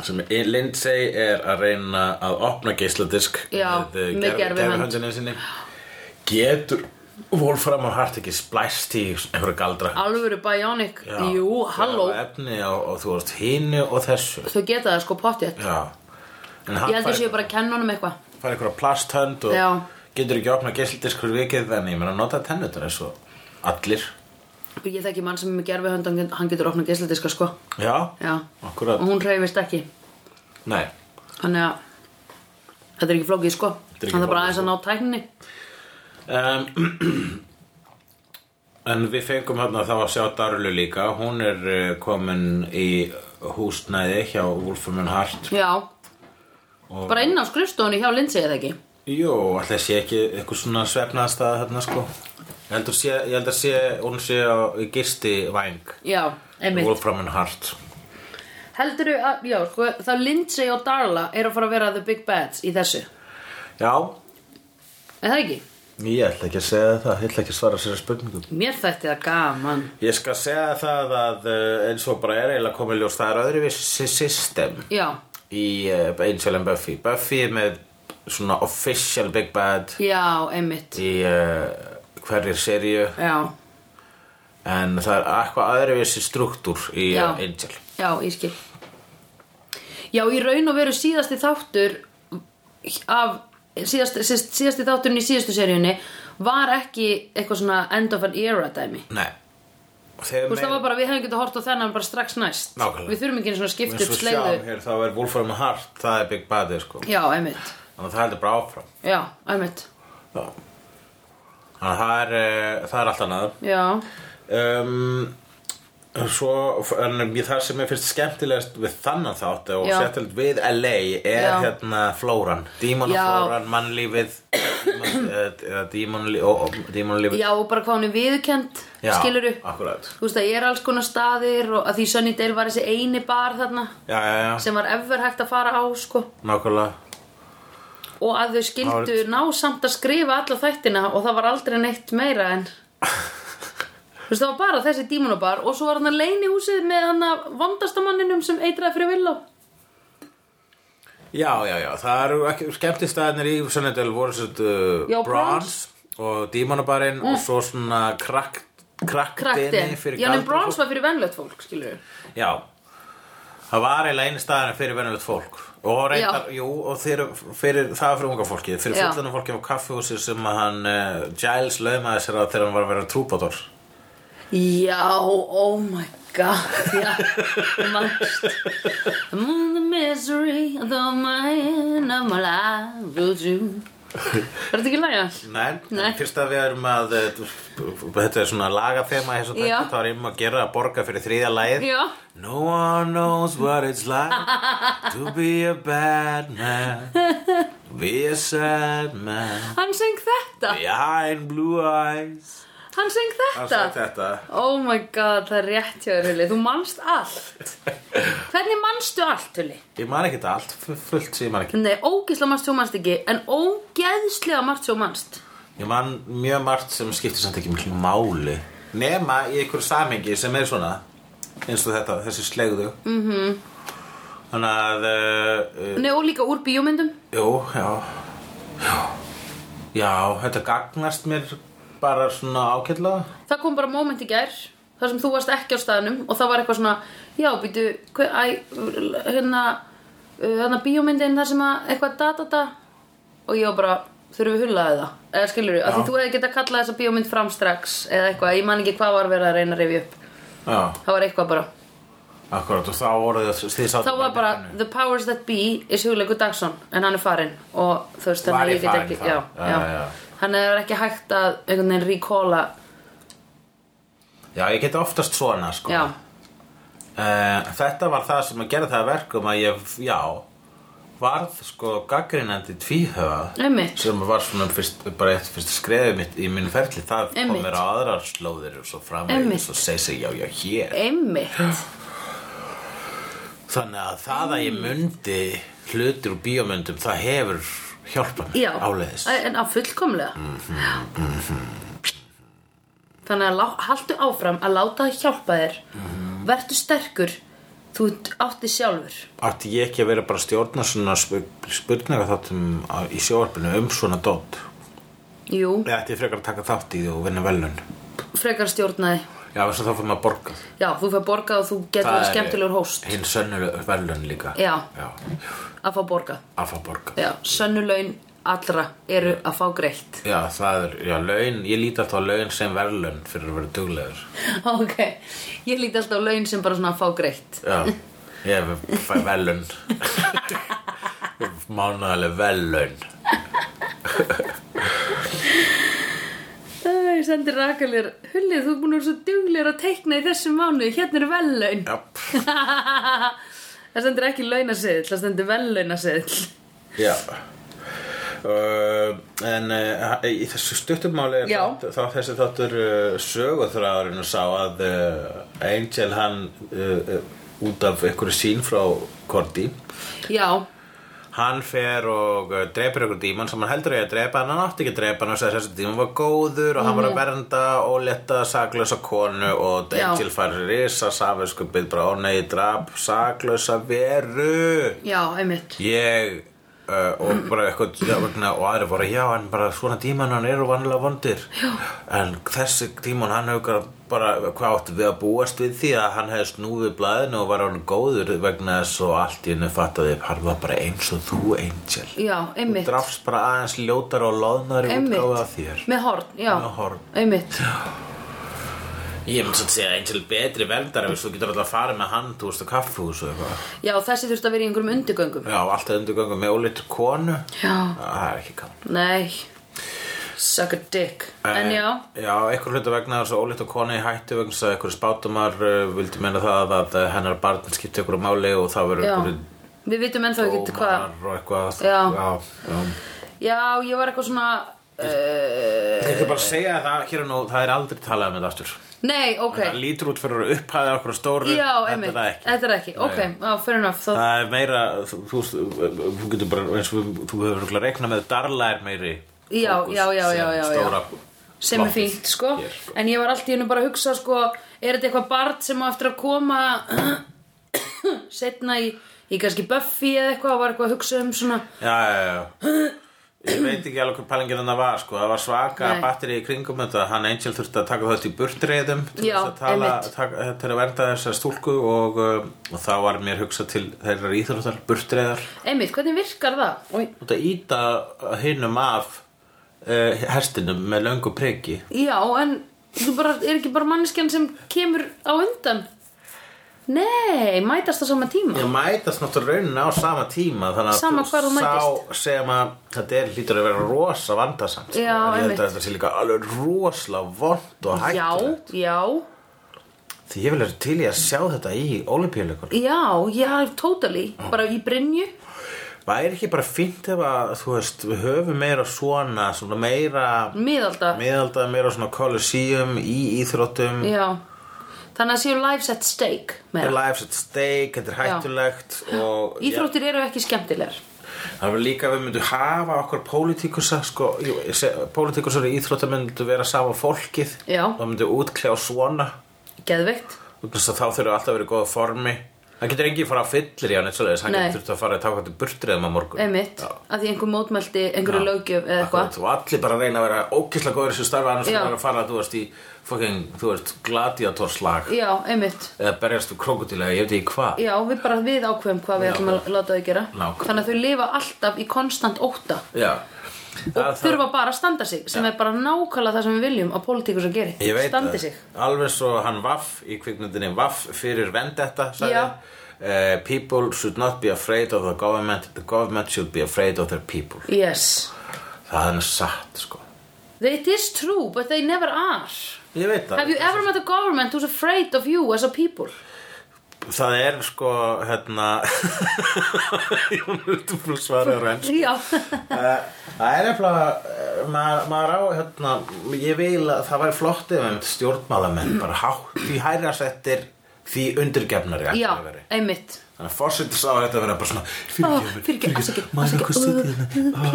S2: sem er- Lindsay er að reyna að opna geisladisk
S1: Já,
S2: eh,
S1: með
S2: gervi-
S1: gervihönd.
S2: gervihöndinni sinni Getur Wolfram and Hart ekki splæst í einhverju galdra
S1: alvöru bionic
S2: Já.
S1: Jú,
S2: Já,
S1: halló
S2: Efni og, og þú veist hinu og þessu
S1: Þau geta það sko pottjett
S2: Já En
S1: Ég
S2: hann
S1: held að séu
S2: fær,
S1: bara að kenna honum eitthvað
S2: fær einhverja plasthönd og
S1: Já.
S2: getur ekki opnað geisladisk fyrir vikið þannig, ég meina nota tennutur eins og allir
S1: Ég þekki mann sem er með gerfi hönd Hann getur opnað geisladiska sko
S2: Já,
S1: Já,
S2: Akkúrat.
S1: og hún reyfist ekki
S2: nei
S1: Þannig að Þetta er ekki flókið sko
S2: er ekki
S1: Hann þarf bara
S2: flókið,
S1: aðeins að ná tækninni
S2: um, En við fengum hérna þá að sjá Darlu líka Hún er eh, komin í húsnæði hjá Wolfram and Hart
S1: Já,
S2: og,
S1: bara inn á skrifstofunni hjá Lindsay eða ekki
S2: Jú, alltaf sé ekki eitthvað svona svefnaðastað hérna sko Ég held að sé, ég held að sé, hún sé á gisti væng
S1: Já, einmitt
S2: Wolfram and Hart
S1: Heldurðu að, já, sko, þá Lindsay og Darla eru að fara að vera the big bads í þessu
S2: Já,
S1: Er það ekki?
S2: Ég ætla ekki að segja það, ég ætla ekki að svara sér að spurningum
S1: Mér þætti það gaman
S2: Ég skal segja það að uh, eins og bara er eiginlega komið ljós Það er öðruvísi system
S1: Já,
S2: í uh, Angel and Buffy Buffy er með svona official big bad
S1: já, einmitt
S2: í uh, hverjir seríu
S1: Já,
S2: En það er eitthvað öðruvísi struktúr í
S1: Já.
S2: uh, Angel
S1: já, ég skil Já, í raun og veru síðasti þáttur af síðast, síðast, síðasti þátturinn í síðustu seríunni var ekki eitthvað svona end of an era dæmi
S2: Nei Þegar
S1: Þú veist, það var bara, við hefum getað hort á þennan bara strax næst
S2: Nákvæmlega.
S1: Við þurfum ekki einu svona að skipta
S2: eins
S1: upp
S2: og hérna. sjáum
S1: sleiðu
S2: hér þá er Wolfram and Hart, það er big badið sko
S1: Já, einmitt
S2: Þannig að það heldur bara áfram
S1: Já, einmitt
S2: Þannig að það er, uh, það er allt annað
S1: Já,
S2: um, svo, en ég- það sem er fyrst skemmtilegast við þannan þátt og
S1: Já.
S2: skemmtilegt við LA er
S1: Já.
S2: hérna flóran, dímonaflóran mannlífið dímon- eh, eða dímonlí- ó, ó, dímonlífið
S1: já og bara hvað hún er viðurkend Skiluru
S2: akkurat
S1: Þú veist að ég er alls konar staðir og að því Sunnydale var þessi eini bar þarna
S2: já, já, já,
S1: sem var ever hægt að fara á sko
S2: nákvæmlega
S1: og að þau skildu ná samt að skrifa alla þættina og það var aldrei neitt meira en þú veist það var bara þessi dímonabar og svo var hann að leini húsið með hann að vondastamanninum sem eitraði fyrir villó
S2: já, já, já, það eru ekki skemmtistæðinir í Sunnydale voru sett uh,
S1: Já, Mm.
S2: Bronze og dímonabarinn og svo svona krakk
S1: kraktinn,
S2: krakktini fyrir
S1: já en
S2: galdra
S1: Brons var fyrir venlögt fólk skilur
S2: Já Það var eiginlega einu staðan fyrir venjulegt fólk og reyndar,
S1: Já.
S2: jú, og fyrir, fyrir það var fyrir unga fólki, fyrir
S1: Já.
S2: fullanum fólki á kaffihúsi sem að hann uh, Giles laumaði sér að þegar hann var að vera trúbátor
S1: já, oh my god já, mannst I'm on the misery of the man of my life with you Er þetta ekki lægja?
S2: Nei,
S1: Nei.
S2: en fyrst að við erum að eh, þetta er svona lagafema þess að
S1: Já.
S2: þetta var um að gera að borga fyrir þriðja lagið
S1: Já
S2: No one knows what it's like to be a bad man be a sad man
S1: Hann söng þetta
S2: behind blue eyes
S1: Hann söng þetta
S2: Hann sagði þetta
S1: Oh my god, það er rétt hjá þér, Hulli Þú manst allt Hvernig manstu allt, Hulli?
S2: Ég man ekki þetta allt, fu- fullt sem ég man ekki
S1: Nei, ógeðslega margt svo manst ekki En ógeðslega margt svo manst
S2: Ég man mjög margt sem skiptir samt ekki miklu máli Nema í einhverju samhengi sem er svona eins og þetta, þessi slegðu mm
S1: Mhm.
S2: -hmm. Þannig að uh, uh,
S1: Nei, og líka úr bíómyndum
S2: Jú, já Já, já þetta gagnast mér bara svona ákjallega
S1: Það kom bara moment í gær Þar sem þú varst ekki á staðnum Og það var eitthvað svona Já, býtu, hver, æ, hérna uh, Hérna bíómyndin þar sem að eitthvað da da da Og ég var bara Þurfum við hullaði það Eða skilur við, af því
S2: Já.
S1: þú hefði getað kallað þessa bíómynd fram strax Eða eitthvað, ég man ekki hvað var verið að reyna að rifja upp
S2: Já,
S1: Það var eitthvað bara
S2: akkurat og þá voru þið þið sátu
S1: þá var bara The Powers That Be is Hugleikur Dagsson en hann er farinn og þú veist
S2: Var
S1: þannig að
S2: ég
S1: ég get
S2: farinn
S1: ekki
S2: þá?
S1: já,
S2: Já,
S1: já.
S2: já.
S1: hann er ekki hægt að einhvern veginn recalla
S2: Já, ég get oftast svona sko
S1: já,
S2: Uh, þetta var það sem að gera það að verkum að ég, já, varð sko gaggrinandi tvíhöfa
S1: Einmitt.
S2: sem var svona fyrst, bara eitt fyrst skrefið mitt í mínu ferli það kom
S1: Einmitt.
S2: mér á aðrar slóðir og svo
S1: Einmitt.
S2: framvegis og segi sig já, já, hér
S1: Einmitt
S2: þannig að það
S1: Mm.
S2: að ég mundi hlutir úr bíómyndum það hefur hjálpað mér
S1: Já,
S2: áleiðis Mhm,
S1: en á fullkomlega Þannig að lá- haltu áfram að láta það hjálpa þér
S2: Mhm.
S1: Vertu sterkur Þú ert átti sjálfur
S2: Átti ég ekki að vera bara að stjórna svona spurninga þáttum í sjóarpinu um svona dót
S1: Jú,
S2: Ég ætti frekar að taka þátt í því og vinna velun
S1: frekar stjórnaði
S2: Já, þess að þá fyrir maður borgað
S1: Já, þú fær borgað og þú getur verið skemmtilegur hóst
S2: Hinn sönnur verðlun líka
S1: Já.
S2: Já,
S1: að fá borgað
S2: að fá borga
S1: Já, sönnuleun allra eru að fá greitt
S2: Já, það er, já, laun, ég líti alltaf á laun sem verðlun fyrir að vera duglegur
S1: Ok, ég líti alltaf á laun sem bara svona að fá greitt
S2: Já, ég fæ verðlun Mánaðaleg verðlun
S1: Æ, Ég sendi rakalir Hullið, þú er búin að vera svo duglir að teikna í þessum mánu Hérna eru vellaun
S2: Já,
S1: Það stendur ekki launaseðl, það stendur vellaunaseill
S2: já Uh, en uh, í þessu stuttumáli er
S1: Já.
S2: þátt- þá þessi þáttur uh, sögurþráðurinn sá að uh, Angel hann uh, uh, út af einhverju sín frá Korti
S1: Já,
S2: Hann fer og uh, dreipir ykkur díman sem hann heldur að ég að dreipa en hann átti ekki að dreipa hann og sagði þessi díman var góður og hann var að vernda óletta saklösa konu og
S1: Já.
S2: Angel fær risa safisku byrð bara ó nei, ég drap saklösa veru
S1: já, einmitt
S2: ég uh, og bara eitthvað já, vegna, og aðri voru já en bara svona díman hann eru vanlega vondir já. en þessi díman hann hefur bara hvað áttu við að búast við því að hann hefði snúfið blaðinu og var hann góður vegna þess og allt í hennu fattaði hann var bara eins og þú Angel
S1: Já, einmitt
S2: drafst bara aðeins ljótar og loðnari útgáfa af þér
S1: Með horn, já
S2: Með horn.
S1: Einmitt
S2: ég mun svo að segja Angel er betri verndar ef þú getur alltaf að fara með hann þú veist að kaffús og eitthvað
S1: Já, þessi þurfti að vera í einhverjum undirgöngum
S2: já alltaf undurgöngum með ólítur konu
S1: Já,
S2: það er ekki gaman
S1: nei Suck a dick En
S2: Eh,
S1: já,
S2: Já, einhver hluta vegna þessu ólíkt og konu í hættu vegna þess að einhver spátumar uh, vildi meina það að uh, hennar barn skipti einhverju máli og það verður
S1: já
S2: einhverju
S1: Við vitum ennþá ekki hvað
S2: dómar og eitthvað
S1: Já.
S2: já, já.
S1: Já, ég var eitthvað svona uh,
S2: Ég ætla bara að segja það hér og nú, það er aldrei talað um þetta aftur
S1: Nei, ok
S2: Það lítur út fyrir að upphæða okkur stóru
S1: Já,
S2: þetta er
S1: einmitt,
S2: það ekki.
S1: þetta er ekki Ok, já, fair enough Þá,
S2: Það er meira, þú, þú, þú getur bara, eins og við- þú hefur örugglega reiknað með Darla er meiri
S1: Já,
S2: fókus
S1: já, já,
S2: sem
S1: já, já, já.
S2: stóra
S1: sem er
S2: plottið
S1: fínt sko.
S2: hér, sko.
S1: en ég var allt í hennu bara að hugsa sko, er þetta eitthvað barn sem á eftir að koma setna í, í kannski Buffy eða eitthvað var eitthvað að hugsa um svona
S2: já, já, já. Ég veit ekki alveg hvað pælingin hann var sko. Það var svaka
S1: Nei.
S2: batteri í kringum þetta Hann Angel þurfti að taka þetta í burtreiðum Til
S1: Já,
S2: þess að tala,
S1: einmitt.
S2: taka, til að vernda þessar stúlku og, um, og þá var mér hugsað til þeirrar íþróttar Burtreiðar
S1: einmitt, hvernig virkar það? Oi.
S2: Þetta íta hinnum af uh, hestinum með löngu priki
S1: já, en þú bara, er ekki bara manneskjan sem kemur á undan nei, mætast á sama tíma
S2: Ég mætast náttúrulega raunin á sama tíma Þannig að
S1: Sama hvar þú mætist.
S2: sá sem að þetta er lítur að vera rosa vandasamt
S1: Já,
S2: En ég held
S1: einmitt.
S2: að þetta sé líka alveg rosa vond og
S1: já,
S2: hættulegt
S1: já,
S2: Því ég vil vera til í að sjá þetta í olimpíuleikunum.
S1: já, já, totally bara í Brynju
S2: Væri ekki bara fínt ef að, þú veist, við höfum meira svona, svona meira
S1: miðalda,
S2: miðalda, meira svona kolosíum í íþróttum,
S1: já þannig að séu lives at stake meira.
S2: yeah. lives at stake, þetta er hættulegt og
S1: Íþróttir eru ekki skemmtilegar
S2: Já, það var líka að við myndum hafa okkur pólitikusa, sko, jú, se- pólitikusar í íþróttum myndum vera sama fólkið
S1: Já.
S2: og myndum útkljá svona
S1: Geðveikt
S2: og þess að þá þurfum við alltaf að vera í góða formi. Það getur engin fara að fyllir í hann eitt svoleiðis, hann
S1: Nei.
S2: getur þurft að fara að taka þetta burtriðum á morgun.
S1: Einmitt,
S2: Já.
S1: af því einhver mótmælti, einhverju
S2: Já,
S1: löggjöf eða
S2: Akkurat,
S1: eitthvað
S2: og allir bara reyna að vera ókysla góður sem starfa annars
S1: Já.
S2: verður að fara þú veist í fucking, þú veist, gladiatorslag
S1: Já, einmitt
S2: eða berjast við krokodílega, ég veit ekki hvað
S1: Já, við bara við ákveðum hvað við
S2: Já.
S1: ætlum að láta þau gera
S2: Nákvæmlega.
S1: Þannig að þau lifa alltaf í konstant óta
S2: Já.
S1: og
S2: Það-
S1: þurfa bara að standa sig sem er bara nákvæmlega það sem við viljum að pólitíkus að geri
S2: Ég veit
S1: Standi
S2: það.
S1: sig
S2: Alveg svo hann Vaff í kvikmyndinni Vaff fyrir Vendetta sagði
S1: Já.
S2: hann. Eh, people should not be afraid of the government the government should be afraid of their people
S1: Yes
S2: það er hann satt sko
S1: It is true, but they never are
S2: ég veit það
S1: Have you ever met a government who's afraid of you as a people?
S2: Það er sko, hérna Ég var búin að svara þér á ensku.
S1: Já,
S2: Eh, Það er nefnilega eh, maður, maður á, hérna ég vil að það væri flott ef um stjórnmálamenn bara hátt því hærra settir því undirgefnari ætti
S1: já,
S2: að vera.
S1: einmitt
S2: Þannig að fórsettis á þetta að vera bara svona
S1: Ó, fyrirgefðu, afsakið,
S2: maður
S1: afsakið,
S2: okkur
S1: uh,
S2: sitið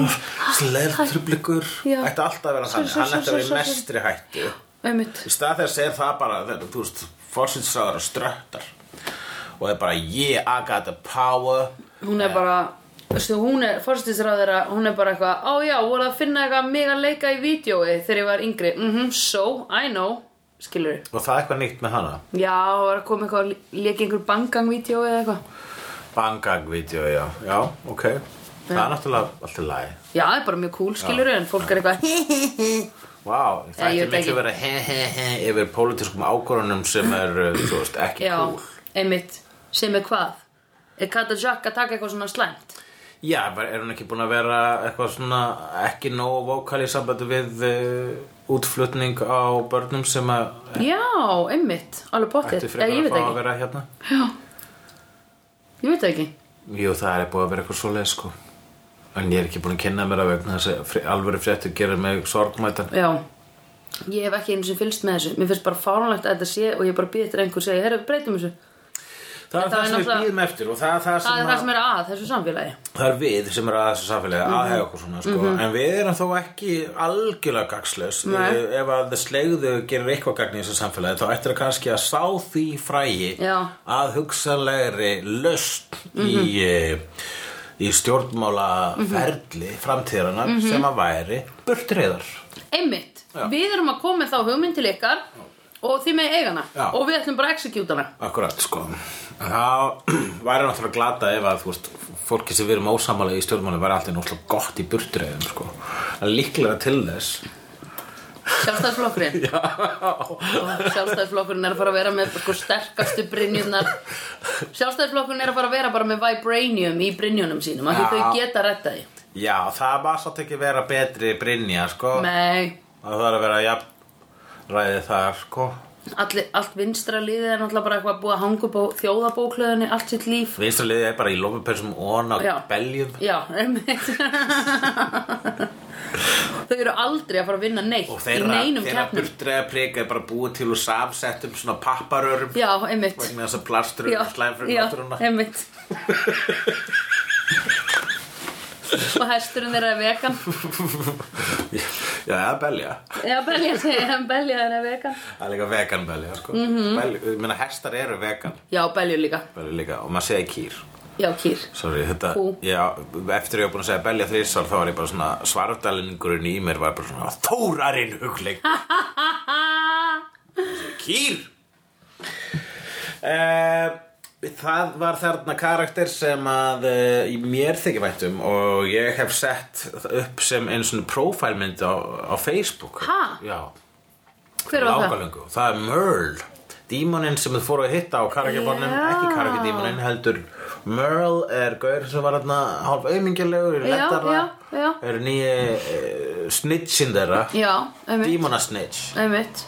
S2: hérna slertrublegur
S1: Já.
S2: ætti alltaf að vera
S1: Sorry,
S2: þannig, hann
S1: sorry,
S2: ætti að vera í
S1: sorry, sorry.
S2: mestri hættu
S1: Einmitt
S2: í stað þegar segir það bara þetta, þú veist, fórsinsraður og ströttar og það er bara yeah, I got the power
S1: Hún er bara, veistu, hún er, fórstisráðara, hún er bara eitthvað Ó já, voru að finna eitthvað mig að leika í vídjói þegar ég var yngri Mhm, so, I know, skilur
S2: og það er eitthvað nýtt með hana
S1: Já, var að koma eitthvað, leki einhver bangang-vídeó eða eitthvað
S2: Bangag-vídeó, já, já, ok það er náttúrulega allt í lagi
S1: Já, það er bara mjög cool, skilur en fólk er eitthvað
S2: Vá, það
S1: Já, ég veit
S2: ætti miklu
S1: ekki.
S2: að vera he he he yfir pólitískum ákvörunum sem er, uh, þú veist, ekki
S1: Já,
S2: cool
S1: einmitt, sem er hvað? Er Kata Jack að taka eitthvað svona slæmt?
S2: Já, bara er hún ekki búin að vera eitthvað svona ekki nógu vókal í sambandi við uh, útflutning á börnum sem að
S1: Já, einmitt, alveg pottir
S2: ætti
S1: Ég
S2: frekar að
S1: veit
S2: fá að
S1: ekki,
S2: vera hérna
S1: ég veit það ekki
S2: Jú, það er búið að vera eitthvað svoleið sko En ég er ekki búin að kynna mér að vegna þess að fri- alvöru fréttur gerir mig sorgmætan
S1: Já, ég hef ekki einu sem fylgst með þessu Mér finnst bara fáránlegt að þetta sé og ég bara býð eftir að einhver segja, herru, breytum þessu
S2: Það er
S1: Þetta er
S2: það sem við
S1: náttúrulega-
S2: býðum eftir og það er það
S1: Það
S2: sem,
S1: er það sem er að þessu samfélagi
S2: það er við sem er að þessu samfélagi
S1: Mhm.
S2: aðhega okkur svona sko En við erum þó ekki algjörlega gagslaus
S1: Nei.
S2: Eh, Ef að slegðu gerir eitthvað gagn í þessu samfélagi þá ættir það kannski að sá því frægi
S1: Já. Mhm.
S2: að hugsanlegri löst í, eh, í stjórnmála
S1: Mhm.
S2: ferli framtíðarana sem að væri burtriðar
S1: Einmitt,
S2: Já.
S1: við erum að koma með þá hugmynd til ykkar og þið með eigana
S2: Já.
S1: og við ætlum bara að execute hana
S2: Akkurat, sko Það væri náttúrulega glata ef að þú veist, fólki sem við erum ósamála í stjórnmáli væri alltaf náttúrulega gott í burtreiðum sko. að líklega til þess
S1: Sjálfstæðsflokkurinn
S2: Já
S1: Sjálfstæðsflokkurinn er að fara að vera með sko sterkastu brynjurnar Sjálfstæðsflokkurinn er að fara að vera bara með vibranium í brynjunum sínum af því
S2: Já.
S1: þau geta að retta því
S2: Já, það var satt ekki vera betri Brynja, sko
S1: Nei,
S2: að það er að vera jafn ræði þar, sko
S1: allir, allt vinstra liðið er náttúrulega bara eitthvað búið að hanga upp á þjóðabóklöðinni allt sitt líf
S2: Vinstra liðið er bara í lófupensum ón á
S1: Já.
S2: beljum
S1: Já, einmitt Þau eru aldrei að fara að vinna neitt
S2: og þeirra,
S1: í neinum
S2: þeirra
S1: keppnum
S2: burtreiða prika er bara búið til úr samsettum svona papparörum
S1: Já, einmitt
S2: vegna þess að plastur
S1: Já,
S2: er slæm fyrir
S1: já,
S2: náttúruna
S1: einmitt Og hesturinn þeirra er vegan
S2: Já, það er belja
S1: Já, belja, segja, belja þeirra er vegan
S2: Það er líka vegan belja, sko. Mm
S1: Mhm.
S2: -hmm. belja, menna, hestar eru vegan
S1: Já, belju líka
S2: belja líka og maður segi kýr.
S1: Já, kýr
S2: Sorry, þetta,
S1: Kú.
S2: já, eftir ég var búin að segja belja þrísar þá var ég bara svona, svarfdælingurinn í mér var bara svona, þórarinn hugleik, kýr! Uh, það var þarna karakter sem að uh, mér þykir væntum og ég hef sett upp sem einu svona profilmynd á, á Facebook.
S1: Ha?
S2: Já.
S1: Hver var það?
S2: Langalöngu, það er Merle Dímoninn sem þið fóru að hitta á karakjabónum
S1: Já.
S2: Ekki karakjadímoninn, heldur Merle er gaur sem var hérna hálf aumingjalegur,
S1: Já,
S2: lettara
S1: já, já.
S2: Er nýja uh, snitchin þeirra
S1: Já, einmitt
S2: Dímona snitch
S1: Einmitt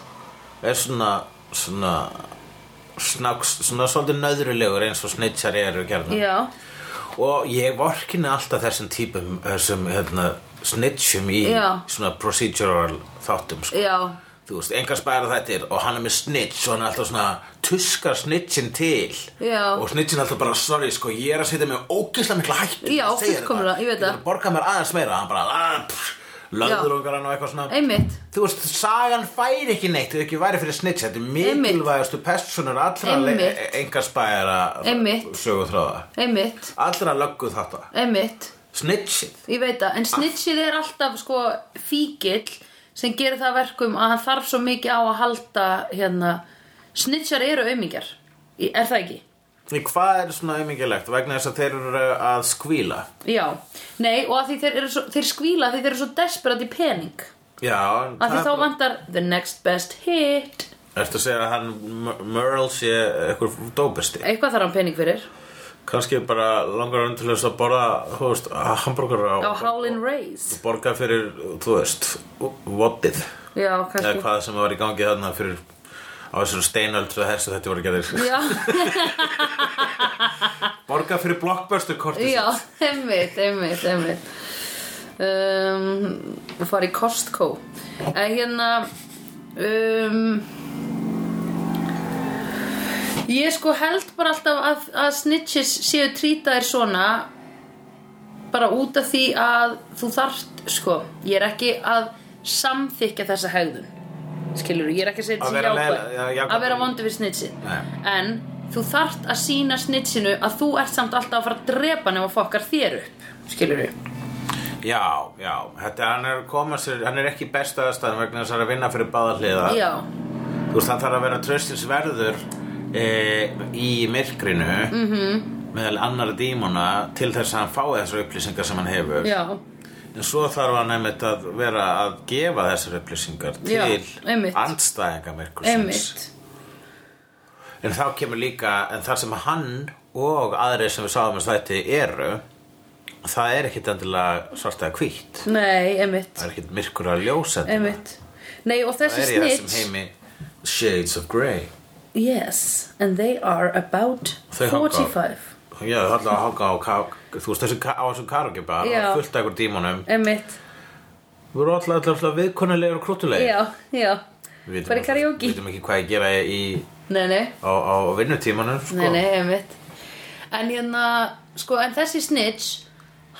S2: Er svona, svona Snaks, svona svolítið nöðrulegur eins og snitchar eru gerðum
S1: Já,
S2: og ég vorkinni alltaf þessum típum þessum hérna, snitchum í
S1: Já.
S2: svona procedural þáttum sko
S1: já
S2: þú veist, engar spæra þættir og hann er með snitch og hann er alltaf svona tuskar snitchin til
S1: Já.
S2: og snitchin er alltaf bara, sorry, sko, ég er að setja mig ógislega mikla hættu
S1: Já,
S2: að segja þér
S1: fullkomlega,
S2: það.
S1: ég veit það.
S2: þarf að borga mér aðeins meira hann bara, "Ah, pff, löður
S1: Já.
S2: okkar hann og eitthvað svona
S1: Einmitt
S2: þú veist, sagan færi ekki neitt ef ekki væri fyrir snitch, þetta er
S1: Einmitt.
S2: mikilvægastu personur allra e-
S1: Einmitt.
S2: engar spæra
S1: Einmitt.
S2: sögutráða
S1: Einmitt
S2: allra löggu þetta,
S1: Einmitt
S2: snitchið
S1: Ég veit það, en snitchið er alltaf sko fíkill sem gerir það að verkum að hann þarf svo mikið á að halda hérna, snitchar eru aumingjar, Í- er það ekki?
S2: Því hvað er svona auðmingilegt vegna þess að þeir eru að skvíla
S1: Já, nei og að því þeir, eru svo, þeir skvíla af því þeir eru svo desperat í pening
S2: Já, en
S1: að
S2: það
S1: því
S2: er
S1: þá
S2: bara-
S1: vantar the next best hit
S2: Ertu að segja að hann M- Merle sé eitthvað dópisti?
S1: eitthvað þarf hann pening fyrir
S2: Kanski bara langar hann til þess að borða, þú veist, hambúrgar á...
S1: á Howlin' Rays
S2: Borga fyrir, þú veist, voddið.
S1: Já,
S2: Eða
S1: kannski
S2: hvað sem var í gangi þarna fyrir á þessum steinöld svo þessu þetta voru gerðir
S1: Já,
S2: borga fyrir blockbuster kortið
S1: já, einmitt, einmitt, einmitt um, fara í Costco en hérna um, ég sko held bara alltaf að, að snitches séu trýtaðir svona bara út af því að þú þarft sko, ég er ekki að samþykja þessa hegðun skilur, ég er ekki að segja
S2: Að
S1: þetta
S2: vera
S1: sem
S2: leið- já,
S1: jákvæð
S2: jákvæð.
S1: að vera vondur við snitchið
S2: Nei.
S1: en þú þarft að sína snitchinu að þú ert samt alltaf að fara að drepa nema fokkar þér upp skilur
S2: Já, já, þetta hann er að koma sér, hann er ekki í besta aðstæðan vegna þess að hann er að vinna fyrir báða hliða
S1: já,
S2: Þú veist, hann þarf að vera tröstins verður e, í myrkrinu
S1: Mhm.
S2: -hmm. meðal annar dímona til þess að hann fái þessar upplýsingar sem hann hefur
S1: já,
S2: En svo þarf hann einmitt að vera að gefa þessar upplýsingar til
S1: Já, einmitt.
S2: andstæðinga myrkursins
S1: einmitt
S2: En þá kemur líka, en þar sem hann og aðri sem við sáðum að stætti eru Það er ekkit endilega svart eða hvítt
S1: nei, einmitt,
S2: Það er ekkit myrkur að ljósa
S1: einmitt nei og
S2: Það
S1: þessi
S2: er í þessum
S1: snitch
S2: heimi Shades of Grey
S1: yes, and they are about
S2: Þau hanga á.
S1: 45
S2: Já, það er alltaf að hanga á ka- Þú veist þessu ka- á þessum karaoke bar
S1: Já.
S2: Fullt af ykkur dímonum
S1: einmitt,
S2: Þú voru alltaf, alltaf, alltaf viðkunnulegur og krútulegir
S1: já, já
S2: Við vitum
S1: bara í
S2: ekki-
S1: karaoke
S2: Við vitum ekki hvað ég gera í,
S1: nei, nei
S2: á, á vinnutímanum sko.
S1: Nei, nei, einmitt En hérna, sko, en þessi snitch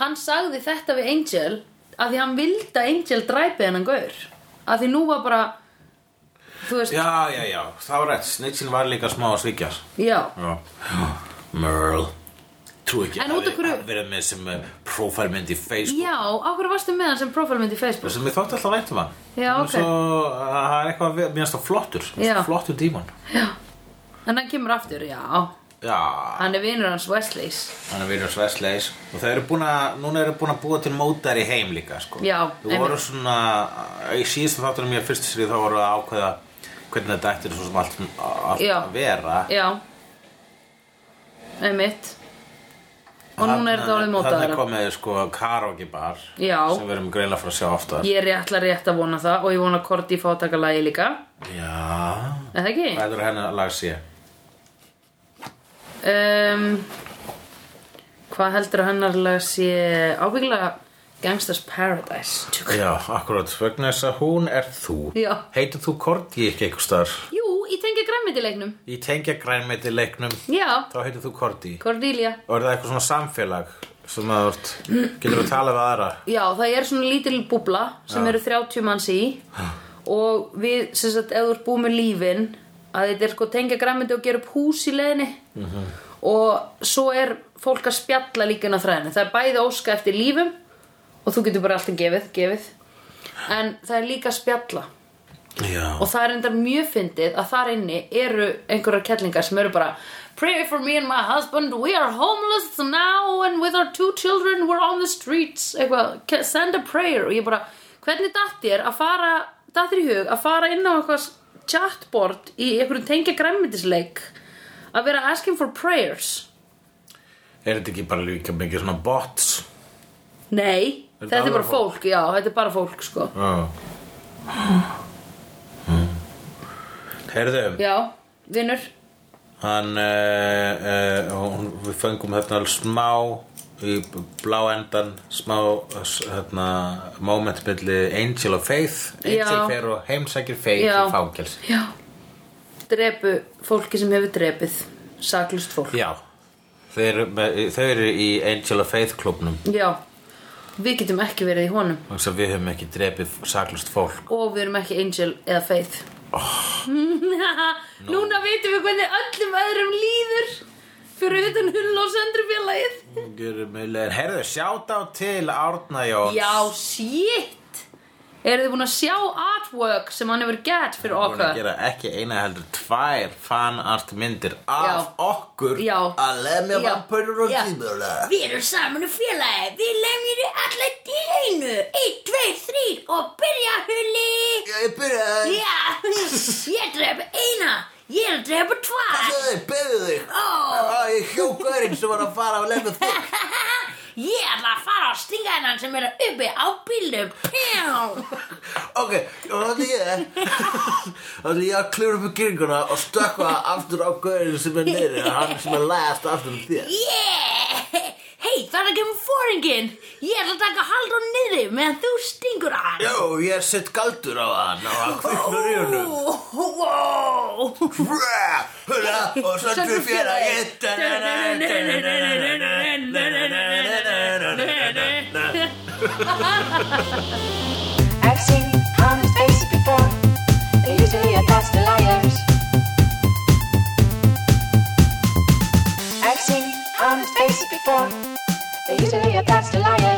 S1: Hann sagði þetta við Angel Af því hann vildi að Angel dræpi hennan gaur Af því nú var bara Þú veist,
S2: Já, já, já, það var rétt Snitchin var líka smá að svíkja
S1: já.
S2: Já Merle Trú ekki
S1: En út af
S2: hafi-
S1: hverju-
S2: hafi verið með sem profilmynd í Facebook
S1: Já, á hverju varstu með hann sem profilmynd í Facebook?
S2: sem ég þótti alltaf væntum hann
S1: Já,
S2: Hann er
S1: ok.
S2: svo, eh, það er eitthvað, við- mér finnst það flottur mér finnst
S1: Já.
S2: það flottur dímon
S1: En hann kemur aftur, já
S2: Já,
S1: Hann er vinur hans Wesleys
S2: Þannig að við erum svæsleis og það eru búin að, núna eru búin að búa til mótar í heim líka sko.
S1: Já,
S2: Þú
S1: einmitt.
S2: voru svona, í síðustu þáttunum ég fyrstu sér þá voru að ákveða hvernig þetta ættir svo sem allt að
S1: Já.
S2: að vera
S1: Já Einmitt Og núna er þetta orðið
S2: Þannig
S1: mótaðara
S2: komið sko karaoke bar
S1: Já.
S2: sem við erum greinlega frá að sjá oftar
S1: Ég er rétt að rétt að vona það Og ég vona að Korti fá að taka lagi líka
S2: Já,
S1: Er það ekki?
S2: hvað er hennar lag sé?
S1: um, Hvað heldur hannarlega sé ábyggilega Gangsters Paradise Tjúk.
S2: Já, akkurat, vegna þess að hún er þú
S1: Já.
S2: Heitir þú Korti ekki einhvers þar?
S1: Jú, í tengja græmitileiknum
S2: Í tengja grænmeti leiknum
S1: Já,
S2: þá heitir þú Korti
S1: Cordelia
S2: Og er það eitthvað svona samfélag sem að þú ert, getur að tala við aðra?
S1: Já, það er svona lítil búbla sem eru 30 manns í og við, sem sagt, ef þú ert búið með lífin að þetta er sko tengja græmiti og gera upp hús í leðinni og svo er fólk að spjalla líka inn á þræðinu það er bæði óska eftir lífum og þú getur bara alltaf gefið, gefið en það er líka að spjalla
S2: Já.
S1: og það er endar mjög fyndið að þar inni eru einhverjar kellingar sem eru bara Pray for me and my husband, we are homeless now and with our two children we're on the streets eitthvað, "Ca- send a prayer og ég bara, hvernig datt þér að fara datt þér í hug að fara inn á eitthvað chatboard í einhverjum tengja græmmitisleik að vera asking for prayers
S2: Er þetta ekki bara líka mikið svona bots?
S1: Nei,
S2: Þetta
S1: þetta er
S2: alveg
S1: bara fólk, já, þetta er bara fólk sko
S2: Já. Heyrðu,
S1: Já, vinnur,
S2: hann, uh, uh, hún, við fengum hérna alveg smá í blá endan, smá uh, s- hérna, moment milli Angel og Faith. Angel
S1: Já.
S2: fer og heimsækir Faith
S1: Já.
S2: í fangels.
S1: já drepu fólki sem hefur drepið saklust fólk
S2: Já. Þau eru, með, þau eru í Angel og Faith klubnum.
S1: Já, við getum ekki verið í honum
S2: Þannig að við höfum ekki drepið saklust fólk.
S1: og við erum ekki Angel eða Faith Núna vitum við hvernig öllum öðrum líður fyrir utan hull og söndrufélagið
S2: Herðu, sjátt á til Árna Jóns.
S1: Já, shit Eru þið búin að sjá artwork sem hann hefur gert fyrir
S2: Hún er búin að
S1: okkar?
S2: gera ekki eina heldur tvær fanart myndir af
S1: Já.
S2: okkur
S1: Já.
S2: að lemja
S1: Já.
S2: vampurur og
S1: Já.
S2: tímurla
S1: Við erum saman í félagi, við lemjum þið allar til einu Eitt, tveir, þrýr og byrja hulli
S2: Ég byrja að
S1: Já, ég drepa eina, ég er að drepa tvær
S2: þig, byrðu þig Ó, ég hjókaðurinn sem var að fara að lemja þig
S1: Ég ætla að fara að stinga þennan sem er uppi á bílum Pjá!
S2: Ok, og það er ég Það er ég að klifra upp í gyringuna og stökkva aftur á gauðinu sem er neyri hann sem er last aftur um þér
S1: Yeah! Hei, það er að kemur fóringin Ég ætla að taka hald og niðri meðan þú stingur hann
S2: Jó, ég set galdur á hann og hann kviknar í honum
S1: Wow!
S2: Bra, Hula, og söndu fjara ég
S4: I've seen honest faces before. They're usually a pass to liars. I've seen honest faces before. They're usually a pass to liars.